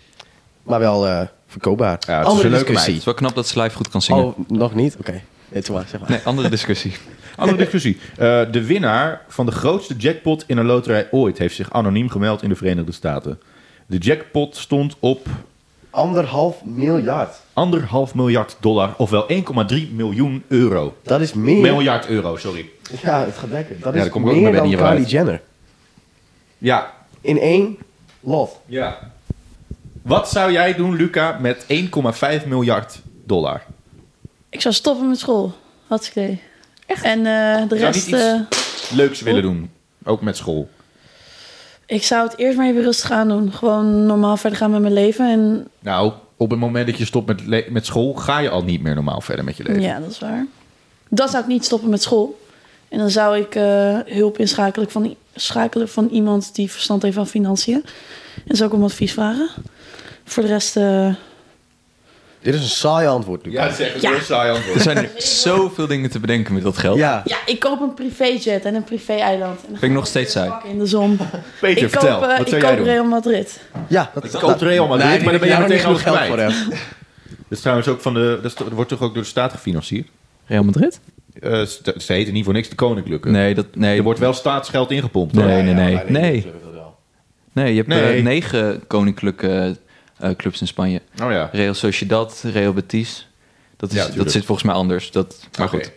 Speaker 3: Maar wel eh, verkoopbaar.
Speaker 2: Ja, het
Speaker 3: andere
Speaker 2: is een leuke
Speaker 5: Het
Speaker 3: discussie.
Speaker 5: is wel knap dat Slijf goed kan zingen.
Speaker 3: Oh, nog niet? Oké. Nee, doe maar, zeg maar.
Speaker 5: Nee, andere discussie.
Speaker 2: Andere discussie. Eh, de winnaar van de grootste jackpot in een loterij ooit heeft zich anoniem gemeld in de Verenigde Staten. De jackpot stond op
Speaker 3: Anderhalf miljard.
Speaker 2: anderhalf miljard dollar, ofwel 1,3 miljoen euro.
Speaker 3: Dat is meer.
Speaker 2: Miljard euro, sorry.
Speaker 3: Ja, het gaat lekker. Dat
Speaker 2: Ja,
Speaker 3: is
Speaker 2: daar kom ik ook
Speaker 3: meer
Speaker 2: maar bij
Speaker 3: dan
Speaker 2: niet
Speaker 3: Kylie
Speaker 2: uit.
Speaker 3: Jenner.
Speaker 2: Ja.
Speaker 3: In één lot.
Speaker 2: Ja. Wat zou jij doen, Luca, met 1,5 miljard dollar?
Speaker 6: Ik zou stoppen met school. Had ik idee. Echt? En eh, de
Speaker 2: Zou
Speaker 6: rest...
Speaker 2: niet iets-
Speaker 6: eh,
Speaker 2: Leuks willen doen. Ook met school.
Speaker 6: ik zou het eerst maar even rustig aan doen. Gewoon normaal verder gaan met mijn leven. En
Speaker 2: Nou, op het moment dat je stopt met, le- met school, ga je al niet meer normaal verder met je leven.
Speaker 6: Ja, dat is waar. Dan zou ik niet stoppen met school. En dan zou ik eh, hulp inschakelen van, i- schakelen van iemand die verstand heeft van financiën. En zou ik om advies vragen. Voor de rest, eh,
Speaker 3: Dit is een saai antwoord, Luca.
Speaker 2: dat is echt een
Speaker 6: Ja.
Speaker 2: heel saai antwoord.
Speaker 5: Er zijn er zoveel dingen te bedenken met dat geld.
Speaker 3: Ja.
Speaker 6: ja, ik koop een privéjet en een privé-eiland. En dan ga
Speaker 5: Vind ik nog steeds saai.
Speaker 6: ik in de zon.
Speaker 2: Peter,
Speaker 6: ik
Speaker 2: vertel.
Speaker 6: koop, eh,
Speaker 2: wat
Speaker 6: ik
Speaker 2: zou jij
Speaker 6: koop
Speaker 2: doen?
Speaker 6: Real Madrid.
Speaker 3: Ja, dat
Speaker 2: Ik koop Real Madrid,
Speaker 3: Nee,
Speaker 2: maar dan ben je
Speaker 3: daar
Speaker 2: meteen
Speaker 3: niet genoeg
Speaker 2: alles
Speaker 3: geld voor
Speaker 2: kwijt.
Speaker 3: hem.
Speaker 2: Dat is trouwens ook van de. Dat, is- dat wordt toch ook door de staat gefinancierd?
Speaker 5: Real Madrid?
Speaker 2: Eh, ze ze heten niet voor niks de Koninklijke.
Speaker 5: Nee, dat, nee.
Speaker 2: Er wordt wel staatsgeld ingepompt. hoor.
Speaker 5: Nee, nee, nee.
Speaker 3: Ja,
Speaker 5: Nee,
Speaker 3: dat wel.
Speaker 5: nee je hebt eh,
Speaker 2: Nee.
Speaker 5: negen koninklijke eh, clubs in Spanje.
Speaker 2: Oh ja.
Speaker 5: Real Sociedad, Real Betis. Dat, is,
Speaker 2: Ja,
Speaker 5: dat
Speaker 2: tuurlijk.
Speaker 5: zit volgens mij anders. Dat, maar
Speaker 2: Oké.
Speaker 5: goed.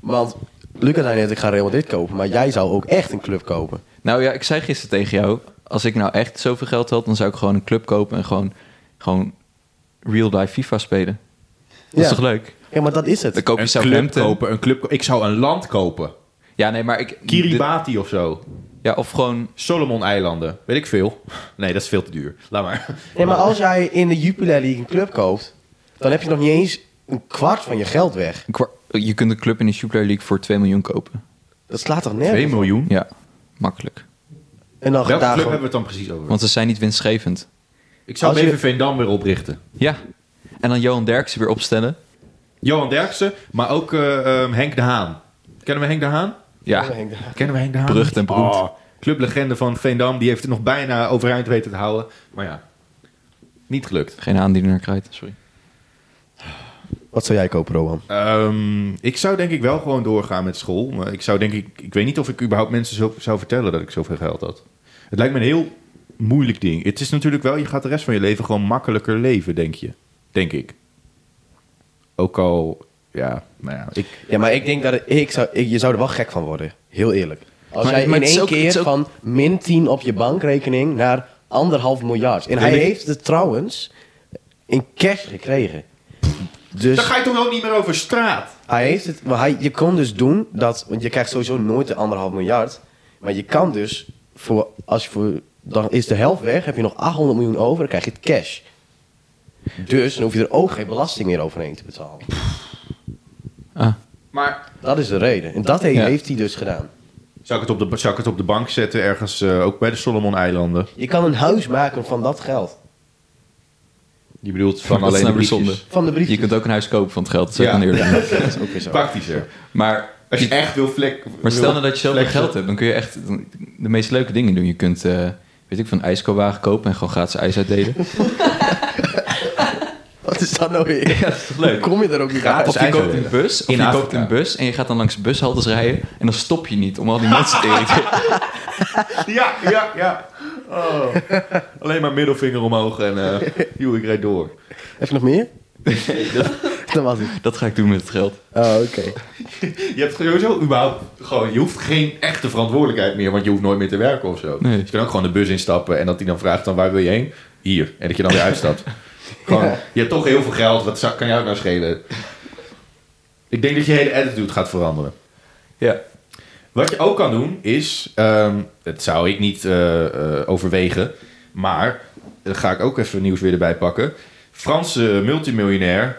Speaker 3: Want Luca zei net, ik ga Real Madrid kopen. Maar jij zou ook echt een club kopen.
Speaker 5: Nou ja, ik zei gisteren tegen jou... als ik nou echt zoveel geld had... dan zou ik gewoon een club kopen en gewoon, gewoon real-life FIFA spelen. Dat
Speaker 3: Ja.
Speaker 5: is toch leuk?
Speaker 3: Ja, maar dat is
Speaker 5: Dan
Speaker 3: het.
Speaker 5: koop je
Speaker 2: Een club
Speaker 5: Southampton.
Speaker 2: kopen, een club ko- Ik zou een land kopen.
Speaker 5: Ja, nee, maar ik...
Speaker 2: Kiribati of zo.
Speaker 5: de- ja, of gewoon...
Speaker 2: Solomon-eilanden. Weet ik veel. Nee, dat is veel te duur. Laat maar.
Speaker 3: Nee, maar als jij in de Jupiler League een club koopt... dan heb je nog niet eens een kwart van je geld weg.
Speaker 5: een kwa- Je kunt een club in de Jupiler League voor 2 miljoen kopen.
Speaker 3: Dat slaat toch
Speaker 2: 2
Speaker 3: nergens op?
Speaker 2: miljoen.
Speaker 5: Ja, makkelijk.
Speaker 3: En dan
Speaker 2: Welke
Speaker 3: daar
Speaker 2: club
Speaker 3: gewoon-
Speaker 2: hebben we het dan precies over?
Speaker 5: Want ze zijn niet winstgevend.
Speaker 2: ik zou
Speaker 3: als je-
Speaker 2: BVV Veendam weer oprichten.
Speaker 5: Ja. En dan Johan Derksen weer opstellen.
Speaker 2: Johan Derksen, maar ook eh, ehm, Henk de Haan. Kennen we Henk de Haan?
Speaker 5: Ja,
Speaker 2: Kennen we Henk de Haan?
Speaker 5: berucht en beroemd.
Speaker 2: Oh, clublegende van Veendam. Die heeft het nog bijna overeind weten te houden. Maar ja, niet gelukt.
Speaker 5: Geen aan die er naar krijgt, sorry.
Speaker 3: Wat zou jij kopen, Rowan?
Speaker 2: Ehm, ik zou denk ik wel gewoon doorgaan met school. Maar ik zou denk ik... Ik weet niet of ik überhaupt mensen zo, zou vertellen dat ik zoveel geld had. Het lijkt me een heel moeilijk ding. Het is natuurlijk wel... Je gaat de rest van je leven gewoon makkelijker leven, denk je. Denk ik. Ook al... Ja, nou ja. Ik,
Speaker 3: Ja, maar ik denk dat ik zou, ik, je zou er wel gek van worden. Heel eerlijk. Als
Speaker 5: Maar-
Speaker 3: jij
Speaker 5: maar
Speaker 3: in
Speaker 5: het is
Speaker 3: één
Speaker 5: ook- het
Speaker 3: keer
Speaker 5: is ook-
Speaker 3: van min 10 op je bankrekening naar anderhalf miljard. En hij heeft het trouwens in cash gekregen. Dus
Speaker 2: Dan ga je toch ook niet meer over straat?
Speaker 3: hij heeft het, maar hij, je kon dus doen dat, want je krijgt sowieso nooit de anderhalf miljard. Maar je kan dus, voor, als je voor, dan is de helft weg, heb je nog 800 miljoen over, dan krijg je het cash. Dus dan hoef je er ook geen belasting meer overheen te betalen.
Speaker 5: Ah.
Speaker 2: Maar
Speaker 3: Dat is de reden. En dat he-
Speaker 5: Ja.
Speaker 3: heeft hij dus gedaan.
Speaker 2: zou ik het op de, zou ik het op de bank zetten ergens, eh, ook bij de Solomon-eilanden?
Speaker 3: Je kan een huis maken van dat geld.
Speaker 2: Je bedoelt van
Speaker 5: Maar dat
Speaker 2: alleen
Speaker 5: is
Speaker 2: de
Speaker 5: nou weer
Speaker 2: briefjes.
Speaker 5: zonde.
Speaker 3: Van de brief.
Speaker 5: Je kunt ook een huis kopen van het geld. Dat is ook
Speaker 2: Ja.
Speaker 5: een eerlijk.
Speaker 3: Dat is ook weer zo.
Speaker 2: Praktischer.
Speaker 5: Maar,
Speaker 2: Als je echt wil vlek...
Speaker 5: maar stel
Speaker 2: wil-
Speaker 5: nou dat je zoveel
Speaker 2: flex-
Speaker 5: geld hebt, dan kun je echt de meest leuke dingen doen. Je kunt, eh, weet ik, van een ijskowagen kopen en gewoon gratis ijs uitdelen.
Speaker 3: Wat is dat nou weer?
Speaker 5: ja, dat is toch leuk?
Speaker 3: Kom je er ook niet
Speaker 2: Ja,
Speaker 3: uit?
Speaker 2: dat
Speaker 5: Of
Speaker 2: is
Speaker 5: je koopt
Speaker 2: eigenlijk-
Speaker 5: een bus, of
Speaker 2: In
Speaker 5: je
Speaker 2: Afrika.
Speaker 5: koopt een bus en je gaat dan langs bushaltes rijden en dan stop je niet om al die mensen te irriteren.
Speaker 2: Ja, ja, ja. Oh. Alleen maar middelvinger omhoog en eh joe, ik rijd door.
Speaker 3: Heb je nog meer? dat was het.
Speaker 5: Dat ga ik doen met het geld.
Speaker 3: Oh, oké.
Speaker 2: Je hebt sowieso überhaupt gewoon, je hoeft geen echte verantwoordelijkheid meer, want je hoeft nooit meer te werken of zo.
Speaker 5: Nee.
Speaker 2: Dus je kan ook gewoon de bus instappen en dat die dan vraagt dan waar wil je heen? Hier. En dat je dan weer uitstapt. gewoon, je hebt toch heel veel geld, wat zou- kan jou nou schelen? Ik denk dat je hele attitude gaat veranderen.
Speaker 5: Ja.
Speaker 2: Wat je ook kan doen is, ehm dat zou ik niet eh, eh, overwegen, maar daar ga ik ook even nieuws weer erbij pakken. Franse multimiljonair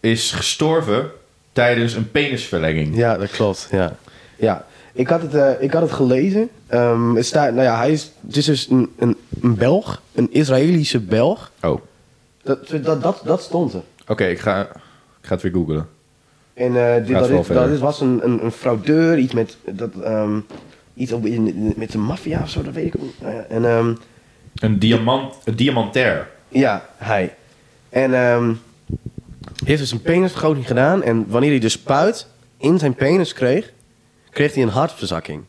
Speaker 2: is gestorven tijdens een penisverlenging.
Speaker 3: Ja, dat klopt. Ja. Ja. Ik, had het, eh, ik had het gelezen. Ehm, het staat, nou ja, hij is, het is dus een, een, een Belg, een Israëlische Belg.
Speaker 2: Oh, oké,
Speaker 3: Dat, dat, dat, dat stond er.
Speaker 2: ik, ga, ik ga het weer googlen.
Speaker 3: En eh, dit,
Speaker 2: Gaat
Speaker 3: dat,
Speaker 2: wel
Speaker 3: is-
Speaker 2: verder.
Speaker 3: dat is- was een, een, een fraudeur, iets met, dat, ehm, iets op, in- met de maffia of zo, dat weet ik ook niet. Nou ja, En ehm,
Speaker 2: Een, diamant, een diamantair.
Speaker 3: Ja, hij. En ehm heeft dus een penisvergroting gedaan. En wanneer hij de spuit in zijn penis kreeg, kreeg hij een hartverzakking.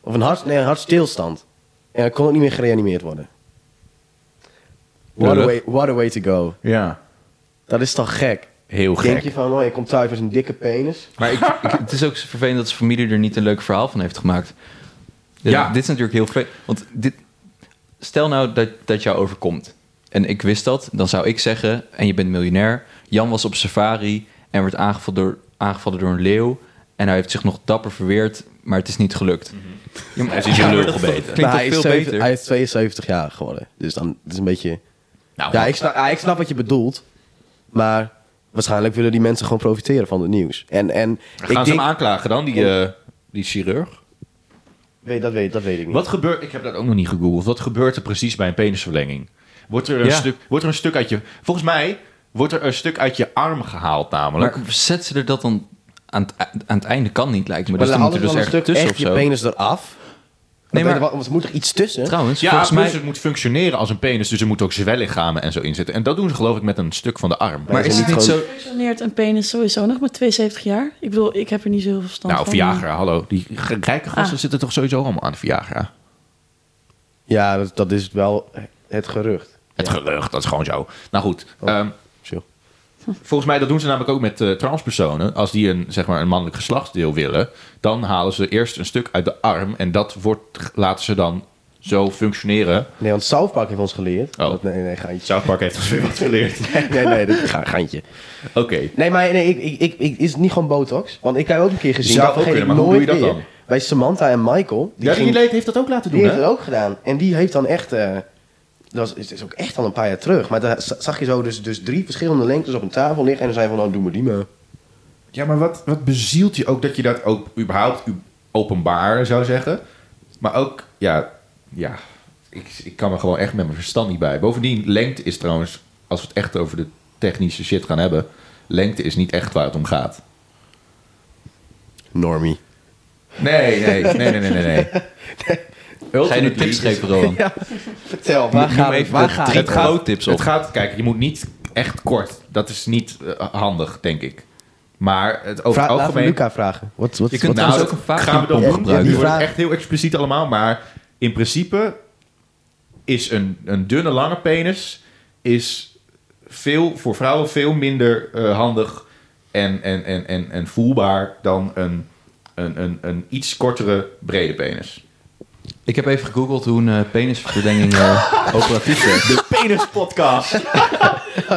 Speaker 3: Of een, hart, nee, een hartstilstand. En hij kon ook niet meer gereanimeerd worden. What a,
Speaker 5: Lullig.
Speaker 3: way, what a way to go.
Speaker 2: Ja.
Speaker 3: Dat is toch gek?
Speaker 2: Heel
Speaker 3: Denk
Speaker 2: gek.
Speaker 3: je van, oh, je komt thuis met een dikke penis.
Speaker 5: Maar ik, ik- het is ook vervelend dat zijn familie er niet een leuk verhaal van heeft gemaakt. Ja.
Speaker 2: Ja.
Speaker 5: Dit is natuurlijk heel vervelend. Want dit, stel nou dat, dat jou overkomt. En ik wist dat, dan zou ik zeggen, en je bent miljonair. Jan was op safari en werd aangevallen door, aangevallen door een leeuw. En hij heeft zich nog dapper verweerd, maar het is niet gelukt. Ja, maar-
Speaker 2: Mhm. Hij is in
Speaker 5: ja,
Speaker 2: zijn
Speaker 5: maar
Speaker 2: lul
Speaker 5: dat
Speaker 2: gebeten.
Speaker 5: Klinkt
Speaker 3: Maar
Speaker 5: toch
Speaker 3: hij, is
Speaker 5: veel
Speaker 3: zeven-
Speaker 5: beter?
Speaker 3: hij is 72 jaar geworden. Dus dan, het is een beetje...
Speaker 2: Nou,
Speaker 3: Ja, ik snap, ja, ik snap wat je bedoelt. Maar waarschijnlijk willen die mensen gewoon profiteren van het nieuws. En, en
Speaker 2: gaan
Speaker 3: ik
Speaker 2: ze
Speaker 3: denk...
Speaker 2: hem aanklagen dan, die, eh, die chirurg?
Speaker 3: Weet, dat, weet, dat weet ik niet.
Speaker 2: Wat gebeurt, ik heb dat ook nog niet gegoogeld, wat gebeurt er precies bij een penisverlenging? Wordt er een,
Speaker 5: Ja.
Speaker 2: stuk, wordt er een stuk uit je, volgens mij, wordt er een stuk uit je arm gehaald namelijk.
Speaker 5: Maar zet ze er dat dan aan het, e- aan het einde kan niet lijkt me. Dus dan
Speaker 3: dan
Speaker 5: moet er dus
Speaker 3: een
Speaker 5: ergens
Speaker 3: stuk
Speaker 5: tussen
Speaker 3: echt
Speaker 5: of
Speaker 3: je
Speaker 5: zo.
Speaker 3: penis eraf.
Speaker 5: Nee,
Speaker 3: Nee,
Speaker 5: maar-
Speaker 3: maar... Want er moet er iets tussen.
Speaker 5: Trouwens,
Speaker 2: ja,
Speaker 5: volgens
Speaker 2: plus
Speaker 5: mij
Speaker 2: het moet functioneren als een penis, dus er moeten ook zwellichamen en zo in zitten. En dat doen ze geloof ik met een stuk van de arm.
Speaker 5: Maar is het niet zo...
Speaker 6: Functioneert een penis sowieso nog met 72 jaar? Ik bedoel, ik heb er niet zoveel verstand
Speaker 2: nou,
Speaker 6: van.
Speaker 2: Viagra, hallo. Die g- rijke gasten
Speaker 6: Ah.
Speaker 2: zitten toch sowieso allemaal aan Viagra?
Speaker 3: Ja, dat, dat is wel het gerucht.
Speaker 2: Het gerucht, dat is gewoon zo. Nou goed,
Speaker 3: Oh.
Speaker 2: ehm,
Speaker 3: Chill.
Speaker 2: volgens mij dat doen ze namelijk ook met eh, transpersonen. Als die een, zeg maar, een mannelijk geslachtsdeel willen, dan halen ze eerst een stuk uit de arm. En dat wordt, laten ze dan zo functioneren.
Speaker 3: Nee, want South Park heeft ons geleerd.
Speaker 2: Oh.
Speaker 3: Dat- nee, nee, gaantje.
Speaker 2: South Park heeft ons weer wat geleerd.
Speaker 3: Nee, nee, nee, dat, ga, gaantje.
Speaker 2: Oké.
Speaker 3: Nee, maar nee, ik, ik, ik, ik- is het niet gewoon botox? Want ik heb ook een keer gezien.
Speaker 2: Zou
Speaker 3: dat
Speaker 2: ook
Speaker 3: vergeet
Speaker 2: kunnen,
Speaker 3: ik
Speaker 2: maar hoe
Speaker 3: nooit
Speaker 2: doe je dat
Speaker 3: meer.
Speaker 2: dan?
Speaker 3: Bij Samantha en Michael.
Speaker 2: Ja, die
Speaker 3: ging-
Speaker 2: leed heeft dat ook laten doen,
Speaker 3: Die heeft
Speaker 2: hè?
Speaker 3: het ook gedaan. En die heeft dan echt... eh, dat is- is, is ook echt al een paar jaar terug. Maar daar za- zag je zo dus, dus drie verschillende lengtes op een tafel liggen. En dan zei van, nou, doe maar die maar.
Speaker 2: Ja, maar wat, wat bezielt je ook dat je dat ook überhaupt u- openbaar zou zeggen? Maar ook, ja, ja ik, ik kan er gewoon echt met mijn verstand niet bij. Bovendien, lengte is trouwens, als we het echt over de technische shit gaan hebben, lengte is niet echt waar het om gaat.
Speaker 3: Normie.
Speaker 2: Nee, nee, nee, nee, nee, nee. nee.
Speaker 5: Ga je nu
Speaker 2: Ultimately
Speaker 5: tips geven, Roland?
Speaker 3: Vertel, waar
Speaker 5: Noem
Speaker 3: gaat het?
Speaker 5: even
Speaker 3: Waar
Speaker 5: de
Speaker 3: gaat
Speaker 5: drie
Speaker 3: het?
Speaker 5: pro tips op.
Speaker 2: Het gaat, kijk, je moet niet echt kort. Dat is niet eh, handig, denk ik. Maar het over
Speaker 3: Vraag,
Speaker 2: het
Speaker 3: laten we
Speaker 2: algemeen... Nou,
Speaker 3: Luca vragen. Wat, wat,
Speaker 5: Je kunt
Speaker 3: wat-
Speaker 5: trouwens
Speaker 2: dat
Speaker 5: ook een vagina
Speaker 2: gaan we dan
Speaker 3: pomp
Speaker 2: doen.
Speaker 3: gebruiken.
Speaker 2: Die wordt
Speaker 3: Vraag-
Speaker 2: echt heel expliciet allemaal, maar in principe is een, een dunne lange penis is veel, voor vrouwen veel minder eh, handig en, en, en, en, en voelbaar dan een een, een, een iets kortere, brede penis.
Speaker 5: Ik heb even gegoogeld hoe een eh, penisverlenging eh, operatief werkt.
Speaker 2: De Penis Podcast.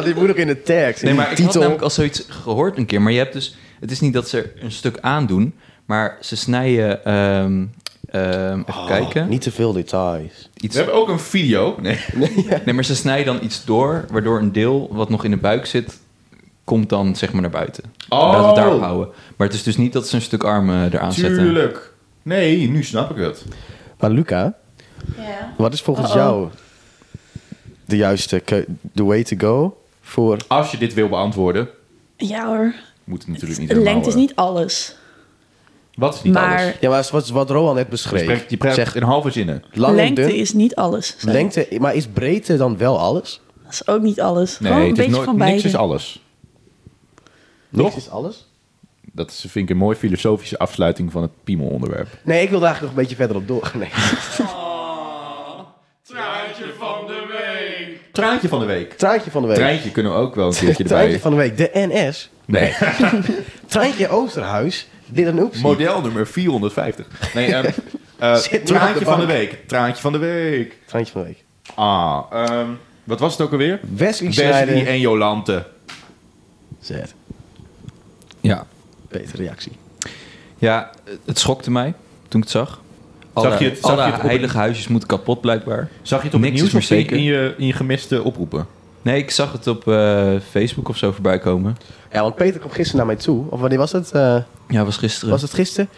Speaker 3: die moet nog in de tags.
Speaker 5: Nee, maar ik had namelijk al zoiets gehoord een keer. Maar je hebt dus... Het is niet dat ze er een stuk aandoen. Maar ze snijden... ehm, ehm, even
Speaker 2: Oh,
Speaker 5: kijken.
Speaker 3: Niet te veel details.
Speaker 2: We
Speaker 5: Iets,
Speaker 2: hebben ook een video. Nee.
Speaker 5: nee, maar ze snijden dan iets door... waardoor een deel wat nog in de buik zit... komt dan zeg maar naar buiten.
Speaker 2: Oh.
Speaker 5: Laten we het daarop houden. Maar het is dus niet dat ze een stuk arm eh, eraan zetten.
Speaker 2: Tuurlijk. Nee, nu snap ik het.
Speaker 3: Maar Luca,
Speaker 6: Ja.
Speaker 3: wat is volgens
Speaker 6: Uh-oh.
Speaker 3: jou de juiste keu- the way to go voor
Speaker 2: Als je dit wil beantwoorden,
Speaker 6: Ja hoor.
Speaker 2: moet het natuurlijk niet helemaal...
Speaker 6: Lengte is
Speaker 2: eh,
Speaker 6: niet alles.
Speaker 2: Wat is niet
Speaker 6: maar
Speaker 2: alles?
Speaker 3: Ja, maar is wat, wat Roan net
Speaker 2: Je
Speaker 3: beschreef.
Speaker 2: praat- Je praat
Speaker 3: zegt
Speaker 2: in halve zinnen.
Speaker 3: lang en
Speaker 6: lengte
Speaker 3: dun.
Speaker 6: is niet alles. zei ik.
Speaker 3: Lengte, maar is breedte dan wel alles?
Speaker 6: Dat is ook niet alles. Gewoon een
Speaker 2: het is
Speaker 6: beetje
Speaker 2: nooit-
Speaker 6: van beide.
Speaker 2: niks is alles.
Speaker 3: Niks
Speaker 2: Toch?
Speaker 3: is alles?
Speaker 2: Dat is, vind ik een mooi filosofische afsluiting van het Piemel-onderwerp.
Speaker 3: Nee, ik wil daar eigenlijk nog een beetje verder op doorgaan. Nee.
Speaker 2: Traantje van de week.
Speaker 3: Traantje van de week.
Speaker 2: Treintje kunnen we ook wel een keertje
Speaker 3: Traantje
Speaker 2: erbij.
Speaker 3: van de week. De NS.
Speaker 2: Nee.
Speaker 3: Traantje Oosterhuis. Dit een oepsie.
Speaker 2: Model nummer 450. Nee, ehm, eh,
Speaker 3: Zit nu op de
Speaker 2: traantje van de
Speaker 3: bank.
Speaker 2: week. Traantje van de week.
Speaker 3: Traantje van de week.
Speaker 2: Ah, ehm, wat was het ook alweer?
Speaker 3: Wesley
Speaker 2: Wesley
Speaker 3: Snijder.
Speaker 2: en Jolante.
Speaker 3: Zet.
Speaker 5: Ja.
Speaker 3: Betere reactie.
Speaker 5: ja, het schokte mij toen ik het zag. Alle,
Speaker 2: je het- zag
Speaker 5: alle
Speaker 2: je het op het-
Speaker 5: heilige huisjes moeten kapot blijkbaar.
Speaker 2: Zag je het op
Speaker 5: Niks
Speaker 2: het
Speaker 5: is meer
Speaker 2: nieuws of in,
Speaker 5: zeker.
Speaker 2: in je, in je gemiste oproepen?
Speaker 5: Nee, ik zag het op eh, Facebook of zo voorbij komen.
Speaker 3: Ja, want Peter kwam gisteren naar mij toe. Of wanneer was het? Eh,
Speaker 5: Ja, was gisteren.
Speaker 3: was het gisteren?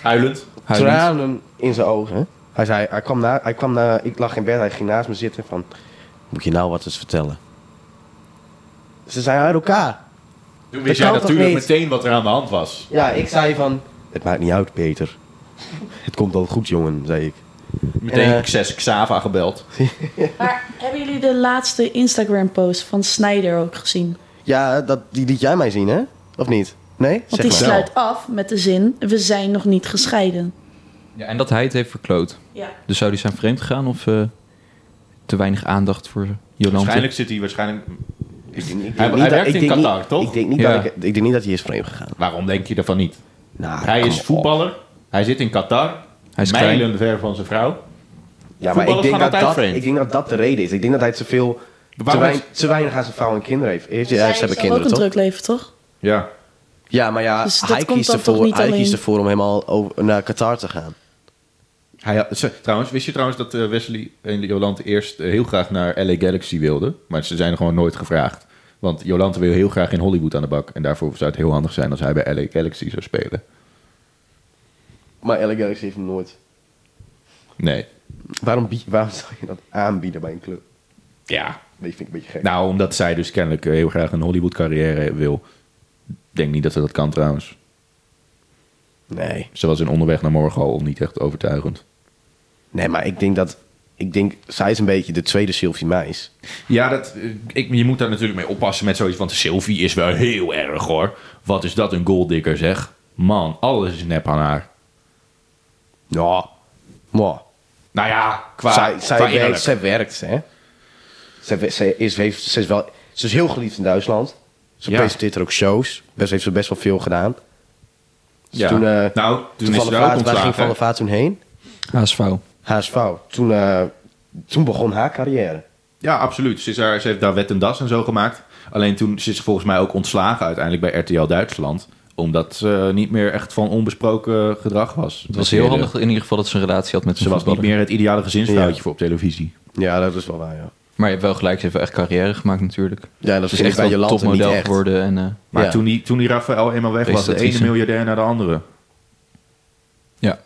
Speaker 2: Huilend.
Speaker 5: Huilend.
Speaker 3: Tranen in zijn ogen. Hij zei, hij kwam na, hij kwam na, ik lag in bed, hij ging naast me zitten van, moet ik je nou wat eens vertellen? Ze zijn uit elkaar.
Speaker 2: Toen
Speaker 3: Dat
Speaker 2: wist
Speaker 3: jij
Speaker 2: jij
Speaker 3: kan toch natuurlijk
Speaker 2: natuurlijk
Speaker 3: niet?
Speaker 2: meteen wat er aan de hand was.
Speaker 3: Ja, ik zei van... Het maakt niet uit, Peter. Het komt al goed, jongen, zei ik.
Speaker 2: Meteen
Speaker 3: Eh.
Speaker 2: zes Xava gebeld.
Speaker 6: Maar hebben jullie de laatste Instagram-post van Snijder ook gezien?
Speaker 3: Ja, dat, die liet jij mij zien, hè? Of niet? Nee?
Speaker 6: Want
Speaker 3: zeg
Speaker 6: die
Speaker 3: maar.
Speaker 6: sluit af met de zin: We zijn nog niet gescheiden.
Speaker 5: Ja, en dat hij het heeft verkloot.
Speaker 6: Ja.
Speaker 5: Dus zou die zijn vreemd gegaan of eh, te weinig aandacht voor Jolante?
Speaker 2: Waarschijnlijk zit hij waarschijnlijk...
Speaker 3: Ik denk- ik denk
Speaker 2: Hij-
Speaker 3: niet
Speaker 2: hij
Speaker 3: dat-
Speaker 2: werkt
Speaker 3: ik
Speaker 2: in
Speaker 3: denk
Speaker 2: Qatar,
Speaker 3: niet-
Speaker 2: toch?
Speaker 3: Ik denk, niet
Speaker 5: Ja.
Speaker 3: dat ik, ik denk niet dat hij is vreemd gegaan.
Speaker 2: Waarom denk je daarvan niet?
Speaker 3: Nou,
Speaker 2: Hij
Speaker 3: kom
Speaker 2: is
Speaker 3: op.
Speaker 2: voetballer. Hij zit in Qatar.
Speaker 5: Hij is
Speaker 2: mijlen
Speaker 5: klein.
Speaker 2: ver van zijn vrouw.
Speaker 3: Ja, maar ik
Speaker 2: voetballers
Speaker 3: denk,
Speaker 2: gaan
Speaker 3: dat dat,
Speaker 2: altijd vreemd.
Speaker 3: ik denk dat dat de reden is. Ik denk dat hij te veel... Te,
Speaker 2: Waarom
Speaker 3: wein-
Speaker 2: is-
Speaker 3: te weinig aan zijn vrouw en kinderen heeft. Heeft- Ja, ze hebben
Speaker 6: ook een
Speaker 3: kinderen, toch?
Speaker 6: druk leven, toch?
Speaker 2: Ja.
Speaker 3: Ja, maar ja,
Speaker 6: Dus dat
Speaker 3: hij,
Speaker 6: komt
Speaker 3: kiest
Speaker 6: dan toch
Speaker 3: ervoor,
Speaker 6: niet
Speaker 3: hij kiest
Speaker 6: alleen?
Speaker 3: ervoor om helemaal over, naar Qatar te gaan.
Speaker 2: Hij had, ze- trouwens, wist je trouwens dat eh, Wesley en Jolante eerst eh, heel graag naar LA Galaxy wilden? Maar ze zijn gewoon nooit gevraagd. Want Jolante wil heel graag in Hollywood aan de bak. En daarvoor zou het heel handig zijn als hij bij LA Galaxy zou spelen.
Speaker 3: Maar LA Galaxy heeft hem nooit.
Speaker 2: Nee.
Speaker 3: Waarom, bie- waarom zou je dat aanbieden bij een club?
Speaker 2: Ja.
Speaker 3: Nee, vind ik een beetje gek.
Speaker 2: Nou, omdat zij dus kennelijk eh, heel graag een Hollywood carrière wil. Ik denk niet dat ze dat kan trouwens.
Speaker 3: Nee.
Speaker 2: Ze was in onderweg naar morgen al niet echt overtuigend.
Speaker 3: Nee, maar ik denk dat... Ik denk, zij is een beetje de tweede Sylvie Meis.
Speaker 2: Ja, dat, eh, ik, je moet daar natuurlijk mee oppassen met zoiets. Want Sylvie is wel heel erg hoor. Wat is dat een goaldikker zeg. Man, alles is nep aan haar.
Speaker 3: Ja. Maar
Speaker 2: Nou ja, qua,
Speaker 3: Nou, zij, zij,
Speaker 2: qua
Speaker 3: werkt,
Speaker 2: innerlijk.
Speaker 3: zij werkt, hè. Zij, we- zij is, heeft, ze, is wel, ze is heel geliefd in Duitsland. Ze
Speaker 2: Ja.
Speaker 3: presenteert er ook shows. Dus heeft ze best wel veel gedaan. Dus
Speaker 2: Ja.
Speaker 3: Toen, eh,
Speaker 2: nou, toen is
Speaker 3: Van
Speaker 2: ze
Speaker 3: der
Speaker 2: daar ook
Speaker 3: Vaart- waar ging Van
Speaker 2: ontslagen.
Speaker 3: der Vaart toen heen?
Speaker 5: HSV.
Speaker 3: HSV. Toen, eh, toen begon haar carrière.
Speaker 2: Ja, absoluut. Ze, is daar, ze heeft daar wet en das en zo gemaakt. Alleen toen ze is volgens mij ook ontslagen uiteindelijk bij RTL Duitsland. Omdat ze eh, niet meer echt van onbesproken eh, gedrag was. Dus
Speaker 5: Het was heel handig in ieder geval dat ze een relatie had met
Speaker 2: Ze
Speaker 5: zijn
Speaker 2: was niet
Speaker 5: voetballer.
Speaker 2: meer het ideale gezinsvrouwtje
Speaker 3: Ja.
Speaker 2: voor op televisie.
Speaker 3: Ja, dat is wel waar, ja.
Speaker 5: Maar je hebt wel gelijk, ze heeft wel echt carrière gemaakt natuurlijk.
Speaker 3: Ja, dat
Speaker 5: Ze
Speaker 3: is
Speaker 5: is
Speaker 3: echt
Speaker 5: echt wel
Speaker 3: bij je
Speaker 5: een
Speaker 3: land niet
Speaker 5: topmodel
Speaker 3: echt.
Speaker 5: geworden. En, eh,
Speaker 2: Maar
Speaker 3: Ja.
Speaker 2: toen, die, toen die Rafael eenmaal weg was, de ene
Speaker 5: Presentatrice.
Speaker 2: miljardair naar de andere.
Speaker 5: ja.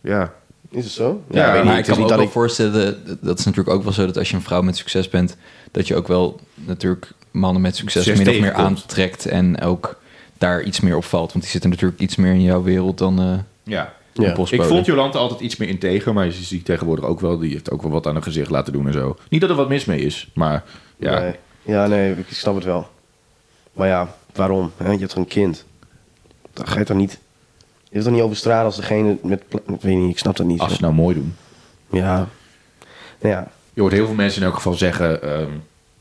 Speaker 2: Ja.
Speaker 3: Is het zo?
Speaker 2: Ja,
Speaker 3: ik weet
Speaker 2: maar
Speaker 5: Maar
Speaker 3: niet.
Speaker 5: ik
Speaker 3: Het is
Speaker 5: kan me
Speaker 3: niet
Speaker 5: ook
Speaker 3: dat
Speaker 5: wel
Speaker 3: ik...
Speaker 5: voorstellen, dat- dat is natuurlijk ook wel zo dat als je een vrouw met succes bent, dat je ook wel natuurlijk mannen met succes
Speaker 2: Succes
Speaker 5: min of meer
Speaker 2: tegenkomt.
Speaker 5: aantrekt en ook daar iets meer op valt. Want die zitten natuurlijk iets meer in jouw wereld dan eh
Speaker 2: ja.
Speaker 5: ja.
Speaker 3: Ja.
Speaker 5: een postbode.
Speaker 2: Ik vond Jolante altijd iets meer integer, maar je ziet tegenwoordig ook wel, die heeft ook wel wat aan haar gezicht laten doen en zo. Niet dat er wat mis mee is, maar ja.
Speaker 3: Nee. Ja, nee, ik snap het wel. Maar ja, waarom? hè? Je hebt toch een kind? Dan ga je toch niet... Je hebt toch niet over straat als degene met... pla- Ik weet niet, ik snap dat niet.
Speaker 2: Als ze
Speaker 3: zo.
Speaker 2: het nou mooi doen.
Speaker 3: Ja. Nou ja.
Speaker 2: Je hoort heel veel mensen in elk geval zeggen... ehm,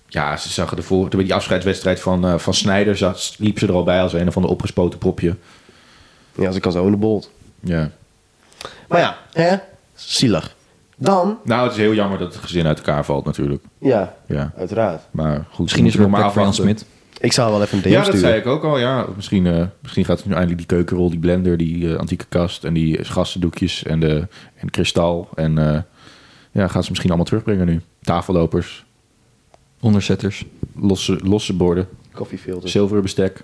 Speaker 2: ja, ze zagen ervoor... Bij die afscheidswedstrijd van, eh van Snijder zat, liep ze er al bij als een of ander opgespoten propje.
Speaker 3: ja, als ik kan zo in de bolt.
Speaker 2: Ja.
Speaker 3: Maar ja, hè? Zielig. Dan,
Speaker 2: Nou, het is heel jammer dat het gezin uit elkaar valt natuurlijk.
Speaker 3: ja,
Speaker 2: Ja.
Speaker 3: uiteraard.
Speaker 2: Maar goed,
Speaker 5: Misschien is er nog maar voor Jan
Speaker 2: afwachten.
Speaker 5: Smit.
Speaker 3: Ik zou wel even een DM
Speaker 2: Ja, dat
Speaker 3: sturen.
Speaker 2: zei ik ook al. Ja. Misschien, eh, misschien gaat het nu eindelijk die keukenrol, die blender, die eh, antieke kast en die gassendoekjes en, de, en kristal. En eh, ja, gaat ze misschien allemaal terugbrengen nu. Tafellopers,
Speaker 5: Onderzetters.
Speaker 2: losse, losse borden,
Speaker 3: Koffiefilter.
Speaker 2: zilveren bestek.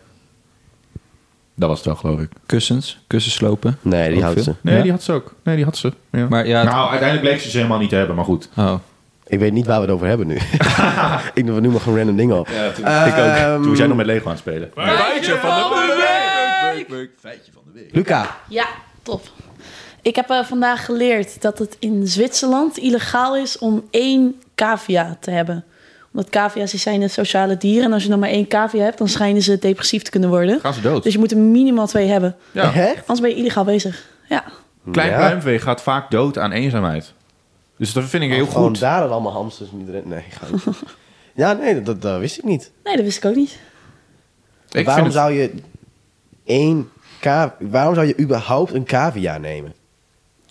Speaker 2: Dat was het wel, geloof ik.
Speaker 5: Kussens. Kussens slopen.
Speaker 3: Nee, die
Speaker 5: Ook
Speaker 3: houdt
Speaker 5: veel.
Speaker 3: ze.
Speaker 2: Nee,
Speaker 5: Ja.
Speaker 2: die had ze ook. Nee, die had ze. Ja.
Speaker 5: Maar ja, het-
Speaker 2: nou, uiteindelijk bleek ze ze helemaal niet te hebben, maar goed.
Speaker 5: oh.
Speaker 3: Ik weet niet waar we het over hebben nu. ik noem, we noemen gewoon random dingen op.
Speaker 2: ik ook.
Speaker 3: Ehm,
Speaker 2: Toen was jij nog met Lego aan het spelen.
Speaker 1: Feitje van de week!
Speaker 3: Luca,
Speaker 6: Ja, top. Ik heb eh, vandaag geleerd dat het in Zwitserland illegaal is om één cavia te hebben. Omdat cavia's die zijn een sociale dieren. En als je dan maar één cavia hebt, dan schijnen ze depressief te kunnen worden.
Speaker 2: Gaan ze dood.
Speaker 6: Dus je moet er minimaal twee hebben.
Speaker 2: Ja.
Speaker 3: echt?
Speaker 6: Anders ben je illegaal bezig. Ja.
Speaker 2: Klein
Speaker 3: Ja.
Speaker 2: pluimvee gaat vaak dood aan eenzaamheid. Dus dat vind ik heel
Speaker 3: Gewoon
Speaker 2: goed.
Speaker 3: daar dat allemaal hamsters niet redden. Nee, gewoon. ja, nee, dat, dat, dat wist ik niet.
Speaker 6: Nee, dat wist ik ook niet.
Speaker 2: Ik
Speaker 3: waarom
Speaker 2: vind het-
Speaker 3: zou je één ka- waarom zou je überhaupt een cavia nemen?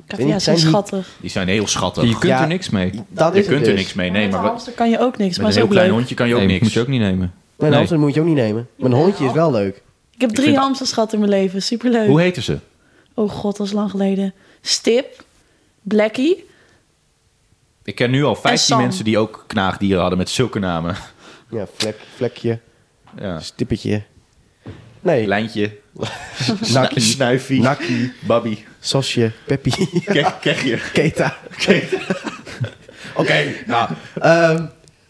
Speaker 6: Cavia's
Speaker 3: zijn
Speaker 6: zijn
Speaker 3: die-
Speaker 6: schattig.
Speaker 2: Die zijn heel schattig.
Speaker 5: Je kunt
Speaker 3: Ja.
Speaker 5: er niks mee.
Speaker 3: Dat
Speaker 2: Je
Speaker 3: is het
Speaker 2: kunt er
Speaker 3: dus.
Speaker 2: niks mee
Speaker 6: Maar
Speaker 2: nemen.
Speaker 6: met
Speaker 2: maar
Speaker 6: een hamster kan je ook niks,
Speaker 2: Met
Speaker 6: maar
Speaker 2: een
Speaker 6: is
Speaker 2: heel
Speaker 6: ook
Speaker 2: klein
Speaker 6: leuk.
Speaker 2: hondje kan je ook
Speaker 5: Nee,
Speaker 2: niks.
Speaker 5: moet je ook niet nemen.
Speaker 3: Mijn
Speaker 5: Nee.
Speaker 3: hamster moet je ook niet nemen. Mijn hondje is wel leuk.
Speaker 6: Ik heb drie
Speaker 2: vind-
Speaker 6: hamsters gehad in mijn leven. Superleuk.
Speaker 2: Hoe heette ze?
Speaker 6: Oh god, dat is lang geleden. Stip, Blackie.
Speaker 2: Ik ken nu al 15
Speaker 6: Sam.
Speaker 2: mensen die ook knaagdieren hadden met zulke namen.
Speaker 3: Ja, vlek, vlekje,
Speaker 2: Ja.
Speaker 3: stippetje. Nee,
Speaker 2: Lijntje,
Speaker 3: nakkie,
Speaker 2: Snuifie,
Speaker 3: nakkie,
Speaker 2: Babby,
Speaker 3: sosje, peppie,
Speaker 2: Ke- Kegje.
Speaker 3: keta.
Speaker 2: Oké, nou,
Speaker 3: Ehm,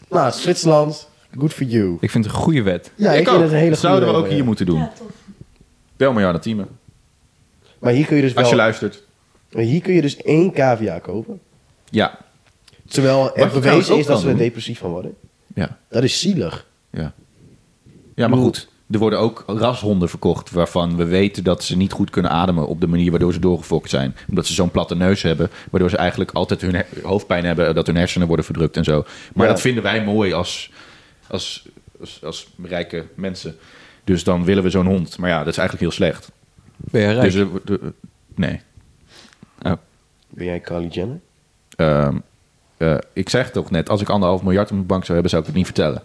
Speaker 3: nou, Zwitserland, good for you.
Speaker 5: Ik vind het een goede wet.
Speaker 3: Ja, ik,
Speaker 2: ik
Speaker 3: vind
Speaker 2: ook.
Speaker 3: het een hele
Speaker 2: Dat zouden we
Speaker 3: goede
Speaker 2: ook
Speaker 3: regel,
Speaker 2: hier moeten doen.
Speaker 6: tof.
Speaker 2: Bel maar Jarna Teamen,
Speaker 3: ja. Maar hier kun je dus
Speaker 2: als je
Speaker 3: wel,
Speaker 2: luistert.
Speaker 3: hier kun je dus één cavia kopen.
Speaker 2: Ja,
Speaker 3: Terwijl
Speaker 2: je
Speaker 3: er
Speaker 2: trouwens
Speaker 3: bewezen
Speaker 2: ook
Speaker 3: is dat
Speaker 2: kan
Speaker 3: ze er
Speaker 2: doen.
Speaker 3: depressief van worden.
Speaker 2: ja,
Speaker 3: Dat is zielig.
Speaker 2: ja. Ja, maar goed. Er worden ook rashonden verkocht waarvan we weten dat ze niet goed kunnen ademen op de manier waardoor ze doorgefokt zijn. Omdat ze zo'n platte neus hebben, waardoor ze eigenlijk altijd hun he- hoofdpijn hebben, eh, dat hun hersenen worden verdrukt en zo. Maar
Speaker 3: Ja.
Speaker 2: dat vinden wij mooi als, als, als, als rijke mensen. Dus dan willen we zo'n hond. Maar ja, dat is eigenlijk heel slecht.
Speaker 5: Ben je Oh. rijk?
Speaker 2: Dus, er wordt- eh, nee.
Speaker 3: Ben jij Kylie Jenner?
Speaker 2: Ehm, eh, ik zeg toch net, als ik anderhalf miljard op mijn bank zou hebben, zou ik het niet vertellen.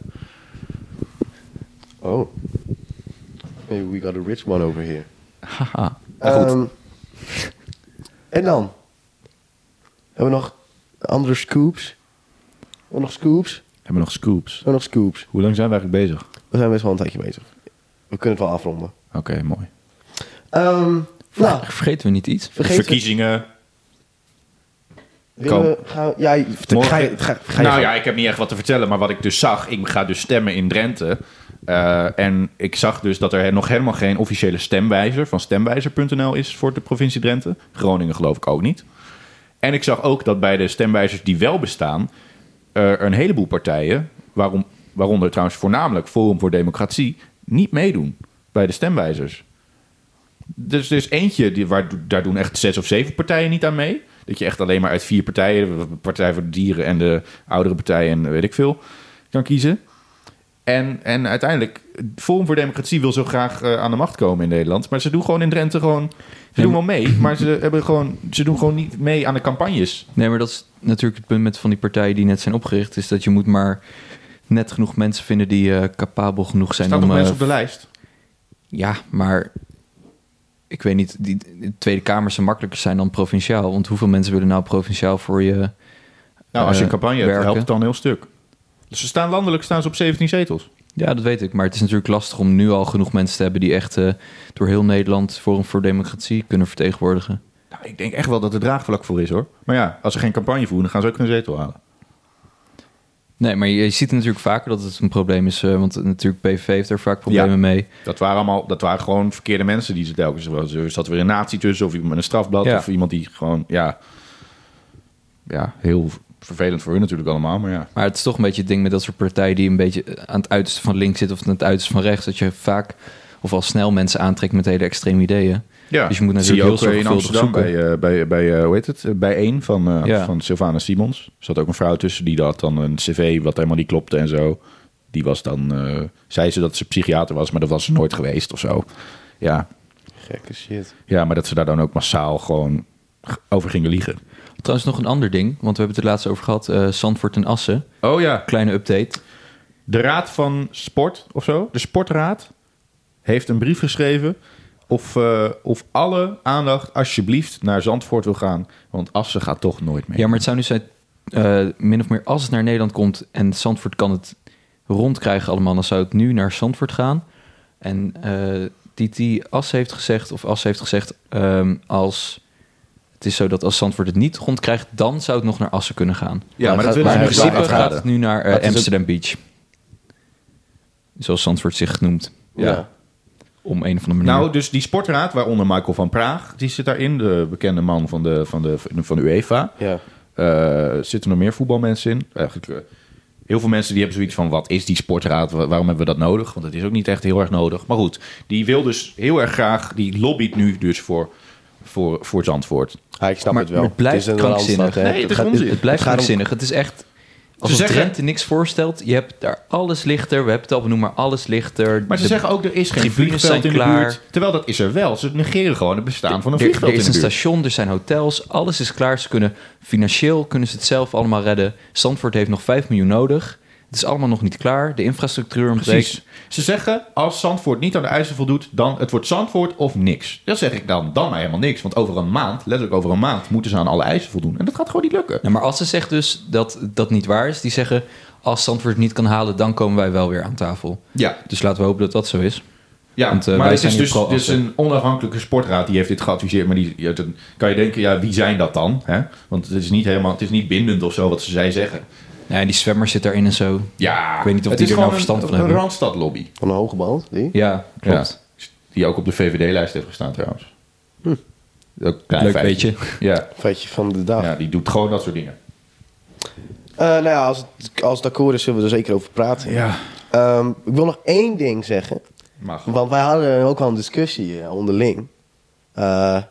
Speaker 3: Oh. Hey, we got a rich one over here.
Speaker 5: Haha.
Speaker 3: Ehm, en dan? Hebben we nog andere scoops? Hebben we nog scoops? Hebben
Speaker 2: Hebben we nog scoops?
Speaker 3: we nog scoops?
Speaker 2: Hoe lang zijn we eigenlijk bezig?
Speaker 3: We zijn best wel een tijdje bezig. We kunnen het wel afronden.
Speaker 2: Oké, mooi.
Speaker 3: Ehm, nou,
Speaker 5: Vergeten we niet iets?
Speaker 3: vergeet het.
Speaker 2: Verkiezingen.
Speaker 3: Willen we gaan, ja, je-
Speaker 2: Morgen-
Speaker 3: ga je, ga, ga je
Speaker 2: nou
Speaker 3: gang.
Speaker 2: ja, ik heb niet echt wat te vertellen, maar wat ik dus zag, ik ga dus stemmen in Drenthe. Eh, en ik zag dus dat er nog helemaal geen officiële stemwijzer van stemwijzer.nl is voor de provincie Drenthe. Groningen geloof ik ook niet. En ik zag ook dat bij de stemwijzers die wel bestaan, er een heleboel partijen, waarom, waaronder trouwens voornamelijk Forum voor Democratie, niet meedoen bij de stemwijzers. Dus er is eentje, die, waar, daar doen echt zes of zeven partijen niet aan mee. Dat je echt alleen maar uit vier partijen, de Partij voor de Dieren en de Oudere Partij en weet ik veel, kan kiezen. En, en uiteindelijk, Forum voor Democratie wil zo graag eh, aan de macht komen in Nederland. Maar ze doen gewoon in Drenthe gewoon... Ze doen wel mee, maar ze, hebben gewoon, ze doen gewoon niet mee aan de campagnes.
Speaker 5: Nee, maar dat is natuurlijk het punt met van die partijen die net zijn opgericht. Is dat je moet maar net genoeg mensen vinden die eh, capabel genoeg
Speaker 2: Er
Speaker 5: zijn
Speaker 2: staan
Speaker 5: om...
Speaker 2: toch
Speaker 5: eh,
Speaker 2: mensen op de lijst?
Speaker 5: Ja, maar ik weet niet. Die, de Tweede Kamers zijn makkelijker zijn dan provinciaal. Want hoeveel mensen willen nou provinciaal voor je...
Speaker 2: Nou, als je
Speaker 5: eh,
Speaker 2: een campagne hebt,
Speaker 5: werken?
Speaker 2: helpt het dan een heel stuk. Dus ze staan landelijk staan ze op 17 zetels.
Speaker 5: Ja, dat weet ik. Maar het is natuurlijk lastig om nu al genoeg mensen te hebben... die echt eh, door heel Nederland Forum voor Democratie kunnen vertegenwoordigen.
Speaker 2: Nou, ik denk echt wel dat er draagvlak voor is, hoor. Maar ja, als ze geen campagne voeren, dan gaan ze ook een zetel halen.
Speaker 5: Nee, maar je, je ziet natuurlijk vaker dat het een probleem is. eh, want natuurlijk PVV heeft er vaak problemen
Speaker 2: Ja.
Speaker 5: mee.
Speaker 2: Dat waren, allemaal, dat waren gewoon verkeerde mensen die ze telkens... Er zat weer een nazi tussen of iemand met een strafblad...
Speaker 5: Ja.
Speaker 2: of iemand die gewoon, ja... Ja, heel vervelend voor hun natuurlijk allemaal, maar ja.
Speaker 5: Maar het is toch een beetje het ding met dat soort partijen die een beetje aan het uiterste van links zitten of aan het uiterste van rechts. Dat je vaak of al snel mensen aantrekt met hele extreme ideeën.
Speaker 2: ja.
Speaker 5: Dus je moet
Speaker 2: Dat zie je
Speaker 5: natuurlijk
Speaker 2: ook
Speaker 5: heel
Speaker 2: eh, in
Speaker 5: zorgvuldig
Speaker 2: Amsterdam
Speaker 5: zoeken.
Speaker 2: bij, eh, bij, bij eh, hoe heet het, Eh, bij één van, eh,
Speaker 5: Ja.
Speaker 2: van Sylvana Simons. Er zat ook een vrouw tussen die had dan een cv wat helemaal niet klopte en zo. Die was dan, eh, zei ze dat ze psychiater was, maar dat was ze nooit geweest of zo. Ja,
Speaker 3: Gekke shit.
Speaker 2: Ja, maar dat ze daar dan ook massaal gewoon g- over gingen liegen.
Speaker 5: Trouwens nog een ander ding, want we hebben het er laatst over gehad. eh Zandvoort en Assen.
Speaker 2: Oh ja,
Speaker 5: Kleine update.
Speaker 2: de Raad van Sport of zo, de Sportraad, heeft een brief geschreven of, eh, of alle aandacht alsjeblieft naar Zandvoort wil gaan. Want Assen gaat toch nooit mee.
Speaker 5: Ja, maar het zou nu zijn, eh, min of meer als het naar Nederland komt en Zandvoort kan het rondkrijgen allemaal, dan zou het nu naar Zandvoort gaan. En eh TT As heeft gezegd, of As heeft gezegd, ehm, als het is zo dat als Zandvoort het niet rondkrijgt, dan zou het nog naar Assen kunnen gaan.
Speaker 2: Ja, maar dat willen
Speaker 5: Maar
Speaker 2: ze
Speaker 5: in
Speaker 2: nu wel
Speaker 5: principe gaat
Speaker 2: afraden.
Speaker 5: het nu naar eh,
Speaker 3: Dat is ook-
Speaker 5: Amsterdam Beach. Zoals Zandvoort zich noemt,
Speaker 2: Ja.
Speaker 5: om een of andere manier.
Speaker 2: Nou, dus die sportraad, waaronder Michael van Praag, die zit daarin, de bekende man van de, van de, van de UEFA.
Speaker 3: Ja.
Speaker 2: Eh, zitten er meer voetbalmensen in? Eigenlijk, eh, heel veel mensen die hebben zoiets van: wat is die sportraad? Wa- Waarom hebben we dat nodig? Want het is ook niet echt heel erg nodig. Maar goed, die wil dus heel erg graag, die lobbyt nu dus voor, voor, voor Zandvoort.
Speaker 3: Ah, ik snap
Speaker 5: maar
Speaker 3: het wel.
Speaker 5: het blijft
Speaker 3: is een
Speaker 5: krankzinnig.
Speaker 3: landstad, hè.
Speaker 2: Nee, het is
Speaker 3: gaat-
Speaker 2: onzin.
Speaker 5: Het blijft
Speaker 3: gaat om-
Speaker 5: krankzinnig. Het is echt... Als het
Speaker 2: zeggen-
Speaker 5: Drenthe niks voorstelt, je hebt daar alles lichter. We hebben het al benoemd, maar alles lichter.
Speaker 2: Maar ze
Speaker 5: De-
Speaker 2: zeggen ook: er is geen
Speaker 5: tribunes
Speaker 2: vliegveld
Speaker 5: zijn
Speaker 2: in de
Speaker 5: klaar.
Speaker 2: buurt. Terwijl dat is er wel. Ze negeren gewoon het bestaan van een
Speaker 5: er, er
Speaker 2: vliegveld in
Speaker 5: is
Speaker 2: de
Speaker 5: een
Speaker 2: buurt.
Speaker 5: station, er zijn hotels, alles is klaar. Ze kunnen financieel kunnen ze het zelf allemaal redden. Zandvoort heeft nog 5 miljoen nodig. Het is allemaal nog niet klaar. De infrastructuur ontbreekt.
Speaker 2: Precies. Ze zeggen, als Zandvoort niet aan de eisen voldoet, dan het wordt Zandvoort of niks. Dat zeg ik dan, dan maar helemaal niks. Want over een maand, letterlijk over een maand, moeten ze aan alle eisen voldoen. En dat gaat gewoon niet lukken.
Speaker 5: Nou, maar als ze zegt dus dat dat niet waar is, die zeggen als Zandvoort het niet kan halen, dan komen wij wel weer aan tafel.
Speaker 2: Ja,
Speaker 5: Dus laten we hopen dat dat zo is.
Speaker 2: ja
Speaker 5: Want, eh,
Speaker 2: maar
Speaker 5: wij
Speaker 2: het
Speaker 5: zijn
Speaker 2: is
Speaker 5: hier
Speaker 2: dus
Speaker 5: vooral
Speaker 2: dit is
Speaker 5: achter.
Speaker 2: een onafhankelijke sportraad, die heeft dit geadviseerd. Maar die, ja, dan kan je denken, ja, wie zijn dat dan? Hè? Want het is niet helemaal, het is niet bindend of zo wat ze zij zeggen.
Speaker 5: Nee, die zwemmer zit daarin en zo.
Speaker 2: Ja,
Speaker 5: Ik weet niet of
Speaker 2: het
Speaker 5: die
Speaker 2: is
Speaker 5: er nou
Speaker 2: gewoon
Speaker 5: verstand
Speaker 2: een-
Speaker 5: van hebben.
Speaker 2: Een Randstadlobby.
Speaker 3: Van een hoge band, die?
Speaker 5: Ja, klopt.
Speaker 2: Die ook op de VVD-lijst heeft gestaan trouwens. Ook een klein
Speaker 5: Hm. Leuk
Speaker 2: feitje.
Speaker 5: beetje. Ah.
Speaker 2: Ja.
Speaker 3: Feitje van de dag.
Speaker 2: ja, die doet gewoon dat soort dingen.
Speaker 3: Eh, nou ja, als het, als het akkoord is, zullen we er zeker over praten.
Speaker 2: Ja.
Speaker 3: Ehm, ik wil nog één ding zeggen.
Speaker 2: Mag.
Speaker 3: Want wij hadden ook al een discussie eh, onderling. eh,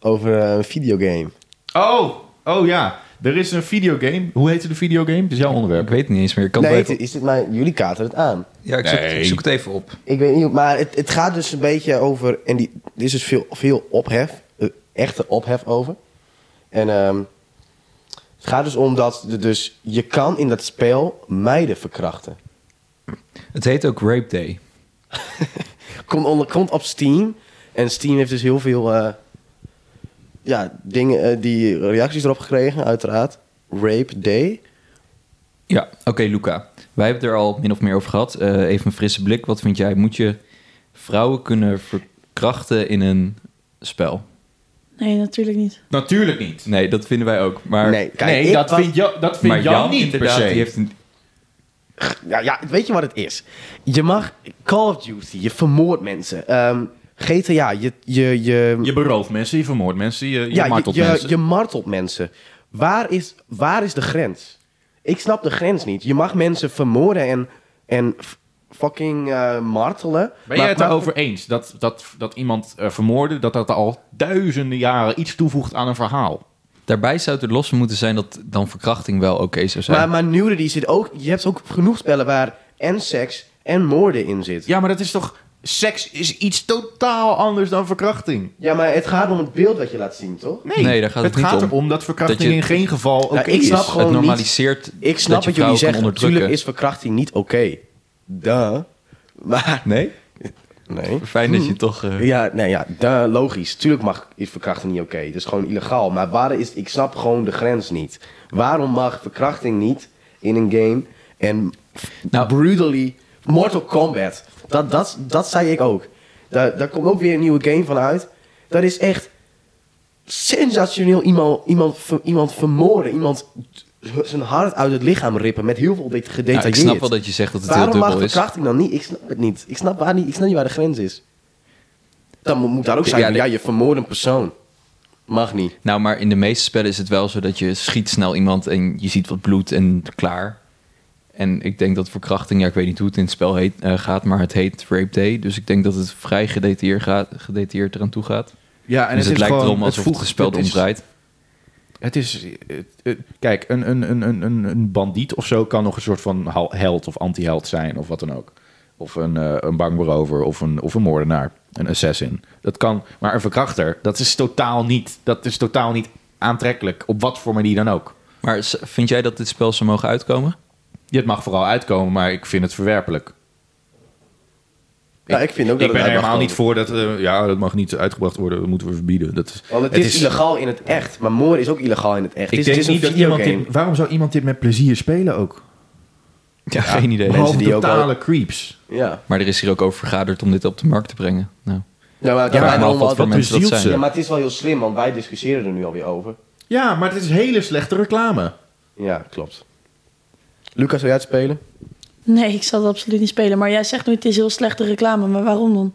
Speaker 3: over een videogame.
Speaker 2: Oh, oh ja. Er is een videogame. Hoe heette de videogame? Het is jouw
Speaker 5: Ik
Speaker 2: onderwerp.
Speaker 5: weet het niet eens meer. Ik kan
Speaker 3: nee,
Speaker 5: het
Speaker 3: het-
Speaker 5: wel even-
Speaker 3: is dit mijn, jullie kaarten het aan.
Speaker 5: Ja, ik zoek,
Speaker 2: Nee.
Speaker 5: ik zoek het even op.
Speaker 3: Ik weet niet, hoe- maar het, het gaat dus een beetje over... En die, er is dus veel, veel ophef, eh, echte ophef over. En ehm, het gaat dus om dat er dus, je kan in dat spel meiden verkrachten.
Speaker 5: Het heet ook Rape Day.
Speaker 3: Komt, onder, komt op Steam. En Steam heeft dus heel veel eh, ja, dingen, eh, die reacties erop gekregen, uiteraard. Rape Day.
Speaker 5: Ja, oké, Luca. Wij hebben het er al min of meer over gehad. Eh, even een frisse blik. Wat vind jij? Moet je vrouwen kunnen verkrachten in een spel?
Speaker 6: Nee, natuurlijk niet.
Speaker 2: Natuurlijk niet.
Speaker 5: Nee, dat vinden wij ook. Maar,
Speaker 3: Nee, kijk,
Speaker 2: nee,
Speaker 3: ik
Speaker 2: dat,
Speaker 3: was-
Speaker 2: vind jo, dat vind
Speaker 5: maar
Speaker 2: Jan,
Speaker 5: Jan
Speaker 2: niet per
Speaker 5: inderdaad,
Speaker 2: se.
Speaker 5: die heeft een...
Speaker 3: Ja, ja, weet je wat het is? Je mag Call of Duty, je vermoordt mensen. Ehm, GTA, je, je, je,
Speaker 2: Je berooft mensen, je vermoordt mensen, je, je
Speaker 3: ja,
Speaker 2: martelt
Speaker 3: je,
Speaker 2: mensen.
Speaker 3: Je martelt mensen. Waar is, waar is de grens? Ik snap de grens niet. Je mag mensen vermoorden en, en f- fucking eh, martelen.
Speaker 2: ben jij het erover eens dat, dat, dat iemand eh, vermoorden, dat dat al duizenden jaren iets toevoegt aan een verhaal?
Speaker 5: Daarbij zou het er los van moeten zijn dat dan verkrachting wel oké zou zijn.
Speaker 3: Maar, maar nudity zit ook... Je hebt ook genoeg spellen waar en seks en moorden in zit.
Speaker 2: Ja, maar dat is toch... Seks is iets totaal anders dan verkrachting.
Speaker 3: Ja, maar het gaat om het beeld dat je laat zien, toch? Nou,
Speaker 2: Nee,
Speaker 5: Nee, daar gaat het niet
Speaker 2: gaat
Speaker 5: om.
Speaker 2: erom dat verkrachting
Speaker 5: Dat je-
Speaker 2: in geen geval oké
Speaker 3: ik snap
Speaker 2: is.
Speaker 3: gewoon
Speaker 5: het
Speaker 3: niet-
Speaker 5: normaliseert
Speaker 3: Ik
Speaker 5: dat
Speaker 3: snap
Speaker 5: je
Speaker 3: wat jullie
Speaker 5: vrouwen kan
Speaker 3: zeggen.
Speaker 5: onderdrukken.
Speaker 3: Natuurlijk is verkrachting niet oké. Duh. Maar...
Speaker 5: Nee?
Speaker 3: Nee.
Speaker 5: Fijn dat je toch... eh,
Speaker 3: Hmm. Ja, nee, ja, da- logisch. Tuurlijk mag is verkrachting niet oké. Dat is gewoon illegaal. Maar waar is, ik snap gewoon de grens niet. Waarom mag verkrachting niet in een game en
Speaker 5: Nou-
Speaker 3: brutally Mortal Kombat? Dat, dat, dat zei ik ook. Daar, daar komt ook weer een nieuwe game van uit. Dat is echt sensationeel iemand, iemand, ver- iemand vermoorden. Iemand zijn hart uit het lichaam rippen met heel veel det-
Speaker 5: ja,
Speaker 3: gedetailleerd.
Speaker 5: Nou, ik snap wel dat je zegt dat het heel
Speaker 3: Waarom mag
Speaker 5: dubbel is.
Speaker 3: verkrachting dan niet? Ik snap het niet. Ik snap, waar niet. ik snap niet waar de grens is. Dan moet, moet daar ook zijn.
Speaker 5: Ja,
Speaker 3: van,
Speaker 5: de-
Speaker 3: Ja, je vermoordt een persoon. Mag niet.
Speaker 5: Nou, maar in de meeste spellen is het wel zo dat je schiet snel iemand en je ziet wat bloed en klaar. En ik denk dat verkrachting, ja, ik weet niet hoe het in het spel heet, eh, gaat, maar het heet Rape Day. Dus ik denk dat het vrij gedetailleerd, gaat, gedetailleerd eraan toe gaat.
Speaker 2: Ja,
Speaker 5: En dus het,
Speaker 2: is
Speaker 5: lijkt
Speaker 2: gewoon-
Speaker 5: erom alsof het
Speaker 2: voegt-
Speaker 5: gespeld
Speaker 2: het is-
Speaker 5: omdraait.
Speaker 2: Het is. het- het- kijk, een, een, een, een, een- een bandiet of zo kan nog een soort van hal- held of anti-held zijn of wat dan ook. Of een, eh, een bankberover of een, of een moordenaar. Een assassin. Dat kan. Maar een verkrachter, dat is totaal niet, dat is totaal niet aantrekkelijk. Op wat voor manier dan ook.
Speaker 5: Maar s- vind jij dat dit spel zou mogen uitkomen?
Speaker 2: Dit mag vooral uitkomen, maar ik vind het verwerpelijk.
Speaker 3: Ja, ik vind ook dat
Speaker 2: ik ben
Speaker 3: het
Speaker 2: er
Speaker 3: uit mag
Speaker 2: helemaal niet
Speaker 3: komen.
Speaker 2: voor dat... eh, ja, dat mag niet uitgebracht worden. Dat moeten we verbieden. Dat is,
Speaker 3: Want het, is, illegaal in het echt. Maar moord is ook illegaal in het echt. het
Speaker 2: Ik
Speaker 3: is,
Speaker 2: denk
Speaker 3: het is
Speaker 2: niet
Speaker 3: een
Speaker 2: dat iemand
Speaker 3: videogame.
Speaker 2: dit, Waarom zou iemand dit met plezier spelen ook?
Speaker 5: Ja, geen idee.
Speaker 3: mensen
Speaker 2: Behalve
Speaker 3: die ook
Speaker 2: totale creeps.
Speaker 3: Ja.
Speaker 5: Maar er is hier ook over vergaderd om dit op de markt te brengen. Nou,
Speaker 3: Ja, maar,
Speaker 5: ja,
Speaker 3: daarom
Speaker 5: maar
Speaker 3: wel-
Speaker 5: wat voor
Speaker 2: dat
Speaker 5: mensen dat
Speaker 2: bezielt
Speaker 5: zijn.
Speaker 2: ze.
Speaker 3: ja, maar het is wel heel slim, want wij discussiëren er nu alweer over.
Speaker 2: Ja, maar het is hele slechte reclame.
Speaker 3: Ja, klopt. Lucas, wil jij het spelen?
Speaker 6: Nee, ik zal het absoluut niet spelen. Maar jij zegt nu het is heel slechte reclame, maar waarom dan?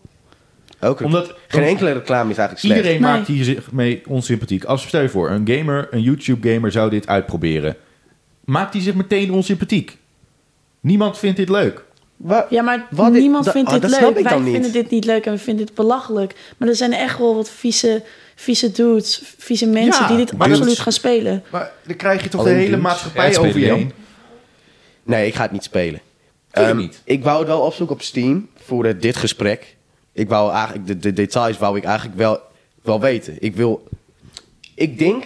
Speaker 3: Ook.
Speaker 2: Omdat-
Speaker 3: Geen enkele reclame is eigenlijk slecht.
Speaker 2: Iedereen
Speaker 6: Nee.
Speaker 2: maakt hier zich mee onsympathiek. Als stel je voor, een gamer, een YouTube-gamer zou dit uitproberen. Maakt hij zich meteen onsympathiek? Niemand vindt dit leuk.
Speaker 3: Wa-
Speaker 6: Ja, maar
Speaker 3: Wat is-
Speaker 6: niemand
Speaker 3: da-
Speaker 6: vindt
Speaker 3: ah,
Speaker 6: dit
Speaker 3: dat
Speaker 6: leuk.
Speaker 3: snap ik
Speaker 6: Wij
Speaker 3: dan niet.
Speaker 6: vinden dit niet leuk en we vinden dit belachelijk. Maar er zijn echt wel wat vieze, vieze dudes, vieze mensen
Speaker 2: Ja,
Speaker 6: die dit
Speaker 2: maar
Speaker 6: absoluut
Speaker 2: dudes.
Speaker 6: gaan spelen.
Speaker 2: Maar dan krijg je toch
Speaker 3: Alleen
Speaker 2: de hele
Speaker 3: dudes.
Speaker 2: maatschappij
Speaker 5: Ja, het
Speaker 2: over je
Speaker 5: spelen,
Speaker 2: heen.
Speaker 3: Nee, ik ga het niet spelen.
Speaker 2: Tuurlijk
Speaker 3: Ehm,
Speaker 2: niet.
Speaker 3: Ik wou het wel opzoeken op Steam voor eh, dit gesprek. Ik wou eigenlijk, de, de details wou ik eigenlijk wel, wel weten. Ik wil... Ik denk,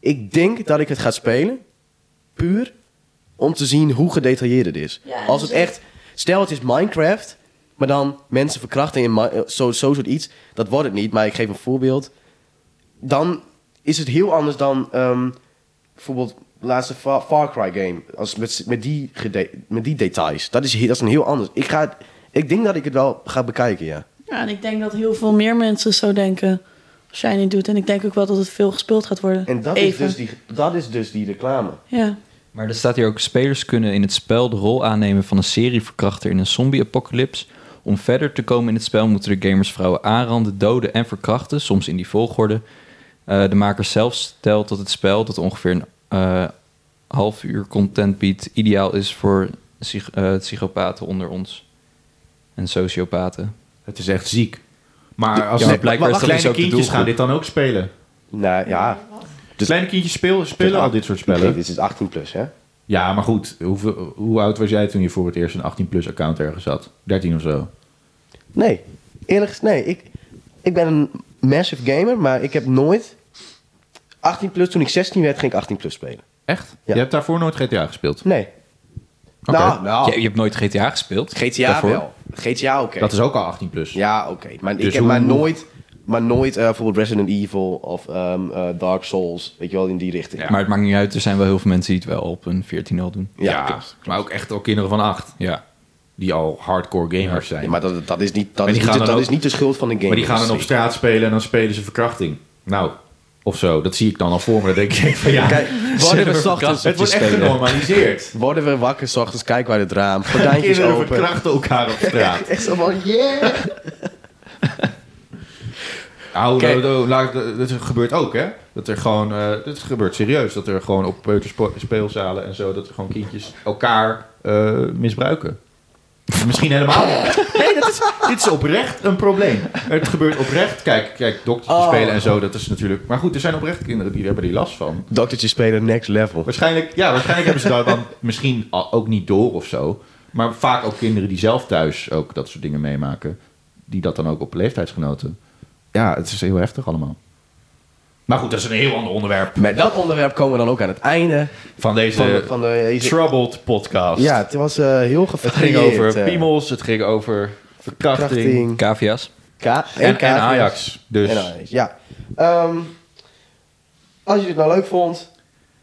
Speaker 3: ik denk dat ik het ga spelen. Puur om te zien hoe gedetailleerd het is.
Speaker 6: Ja,
Speaker 3: Als het
Speaker 6: dus-
Speaker 3: echt... Stel, het is Minecraft. Maar dan mensen verkrachten in Mi- eh, zo, zo soort iets. Dat wordt het niet, maar ik geef een voorbeeld. Dan is het heel anders dan... ehm, bijvoorbeeld de laatste Fa- Far Cry game. Als met, met, die gede- met die details. Dat is, he- dat is een heel anders. Ik, ga, het- ik denk dat ik het wel ga bekijken, ja.
Speaker 6: Ja, en ik denk dat heel veel meer mensen zo denken als jij niet doet. En ik denk ook wel dat het veel gespeeld gaat worden.
Speaker 3: En dat, is
Speaker 6: Even.
Speaker 3: dus die, dat is dus die reclame.
Speaker 6: Ja,
Speaker 5: Maar er staat hier ook: spelers kunnen in het spel de rol aannemen van een serieverkrachter in een zombie-apocalypse. Om verder te komen in het spel moeten de gamers vrouwen aanranden, doden en verkrachten, soms in die volgorde. Eh, de maker zelf stelt dat het spel, dat ongeveer een eh, half uur content biedt, ideaal is voor psych- eh, psychopaten onder ons en sociopaten.
Speaker 2: Het is echt ziek. Maar als
Speaker 5: Ja, maar
Speaker 2: de
Speaker 5: blijkbaar is dat
Speaker 2: kleine
Speaker 5: dus ook de
Speaker 2: kindjes gaan
Speaker 5: doelgroep.
Speaker 2: dit dan ook spelen.
Speaker 3: Nou ja. Dus-
Speaker 2: kleine kindjes spelen, spelen al dit soort spellen.
Speaker 3: Nee, dit is 18 plus, hè?
Speaker 2: Ja, maar goed. Hoeveel, hoe oud was jij toen je voor het eerst een 18-plus account ergens had? 13 of zo.
Speaker 3: Nee. Eerlijk gezegd, nee. Ik, ik ben een massive gamer, maar ik heb nooit... 18 plus, toen ik 16 werd, ging ik 18 plus spelen.
Speaker 2: Echt?
Speaker 3: Ja.
Speaker 2: Je hebt daarvoor nooit GTA gespeeld?
Speaker 3: Nee.
Speaker 2: Oké.
Speaker 3: Nou, nou,
Speaker 5: Je, je hebt nooit GTA gespeeld?
Speaker 3: GTA
Speaker 5: daarvoor?
Speaker 3: wel. GTA oké.
Speaker 2: Dat is ook al 18-plus.
Speaker 3: Ja, oké. Maar
Speaker 2: Dus
Speaker 3: ik heb
Speaker 2: hoe-
Speaker 3: maar
Speaker 2: hoe-
Speaker 3: nooit, maar nooit eh, bijvoorbeeld Resident Evil of ehm, eh, Dark Souls. Weet je wel, in die richting.
Speaker 5: Maar het maakt niet uit, er zijn wel heel veel mensen die het wel op een 14 al doen.
Speaker 3: Ja,
Speaker 2: Ja,
Speaker 3: klopt.
Speaker 2: maar ook echt al kinderen van acht.
Speaker 5: Ja.
Speaker 2: Die al hardcore gamers zijn.
Speaker 3: Ja, maar dat, dat, is, niet, dat,
Speaker 2: die
Speaker 3: is, niet, de-
Speaker 2: gaan dan
Speaker 3: dat
Speaker 2: ook-
Speaker 3: is niet de schuld van de game.
Speaker 2: maar die gaan dan op
Speaker 3: industrie.
Speaker 2: straat spelen en dan spelen ze verkrachting. Nou, of zo. Dat zie ik dan al voor me. Dan denk ik van ja,
Speaker 3: Kijk, worden we, 's ochtends,
Speaker 2: het wordt echt genormaliseerd.
Speaker 3: worden we wakker 's ochtends, kijken we uit het raam. Gordijntjes
Speaker 2: Kinderen
Speaker 3: open.
Speaker 2: verkrachten elkaar op straat.
Speaker 3: Echt zo van, yeah!
Speaker 2: Nou,
Speaker 3: Kijk.
Speaker 2: nou, nou, laat ik- dat gebeurt ook, hè? Dat er gewoon, eh dat gebeurt serieus. Dat er gewoon op peuterspo- speelzalen en zo, dat er gewoon kindjes elkaar eh, misbruiken. Misschien helemaal niet. Nee, dat is, dit is oprecht een probleem. Het gebeurt oprecht. Kijk, kijk dokters die
Speaker 3: Oh.
Speaker 2: spelen en zo, dat is natuurlijk... Maar goed, er zijn oprecht kinderen die hebben die last van.
Speaker 3: Doktertje spelen next level.
Speaker 2: Waarschijnlijk, ja, waarschijnlijk hebben ze daar dan misschien al- ook niet door of zo. Maar vaak ook kinderen die zelf thuis ook dat soort dingen meemaken. Die dat dan ook op leeftijdsgenoten. Ja, het is heel heftig allemaal. Maar goed, dat is een heel ander onderwerp
Speaker 3: Met dat onderwerp komen we dan ook aan het einde
Speaker 2: van deze
Speaker 3: van, de- van de... deze-
Speaker 2: Troubled podcast.
Speaker 3: ja, het was eh, heel gevarieerd.
Speaker 2: Eh, het ging over
Speaker 3: eh,
Speaker 2: piemels, het ging over verkrachting,
Speaker 3: krachting,
Speaker 5: Cavia's?
Speaker 3: ka-
Speaker 2: En, en
Speaker 3: kaartjes.
Speaker 2: Ajax. Dus
Speaker 3: En Ajax, ja. Ehm, als je dit nou leuk vond,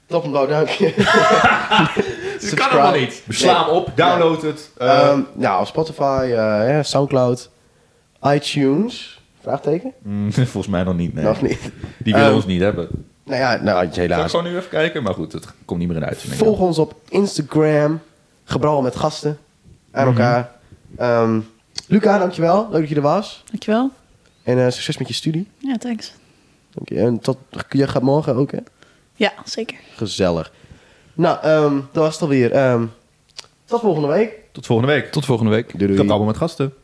Speaker 3: top een blauw duimpje.
Speaker 2: het kan allemaal niet. Sla hem op, download het. eh,
Speaker 3: Ehm, nou, op Spotify, eh, hè, Soundcloud, iTunes, vraagteken?
Speaker 2: mm, volgens mij nog niet, nee.
Speaker 3: Nog niet.
Speaker 2: Die willen
Speaker 3: Ehm,
Speaker 2: ons niet hebben.
Speaker 3: Nou ja, nou,
Speaker 2: Zal ik
Speaker 3: helaas.
Speaker 2: gewoon nu even kijken? Maar goed, het komt niet meer in uitzending.
Speaker 3: Volg ons op Instagram, gebral met gasten aan
Speaker 2: Mhm.
Speaker 3: elkaar. Ehm, Luca, dankjewel. Leuk dat je er was.
Speaker 6: dankjewel.
Speaker 3: En eh, succes met je studie.
Speaker 6: Ja, thanks.
Speaker 3: Dank je. En tot, je gaat morgen ook, hè?
Speaker 6: Ja, zeker.
Speaker 3: Gezellig. Nou, ehm, dat was het alweer. Ehm, tot volgende week.
Speaker 2: Tot volgende week.
Speaker 5: Tot volgende week.
Speaker 3: Doei doei.
Speaker 2: Dat allemaal met gasten.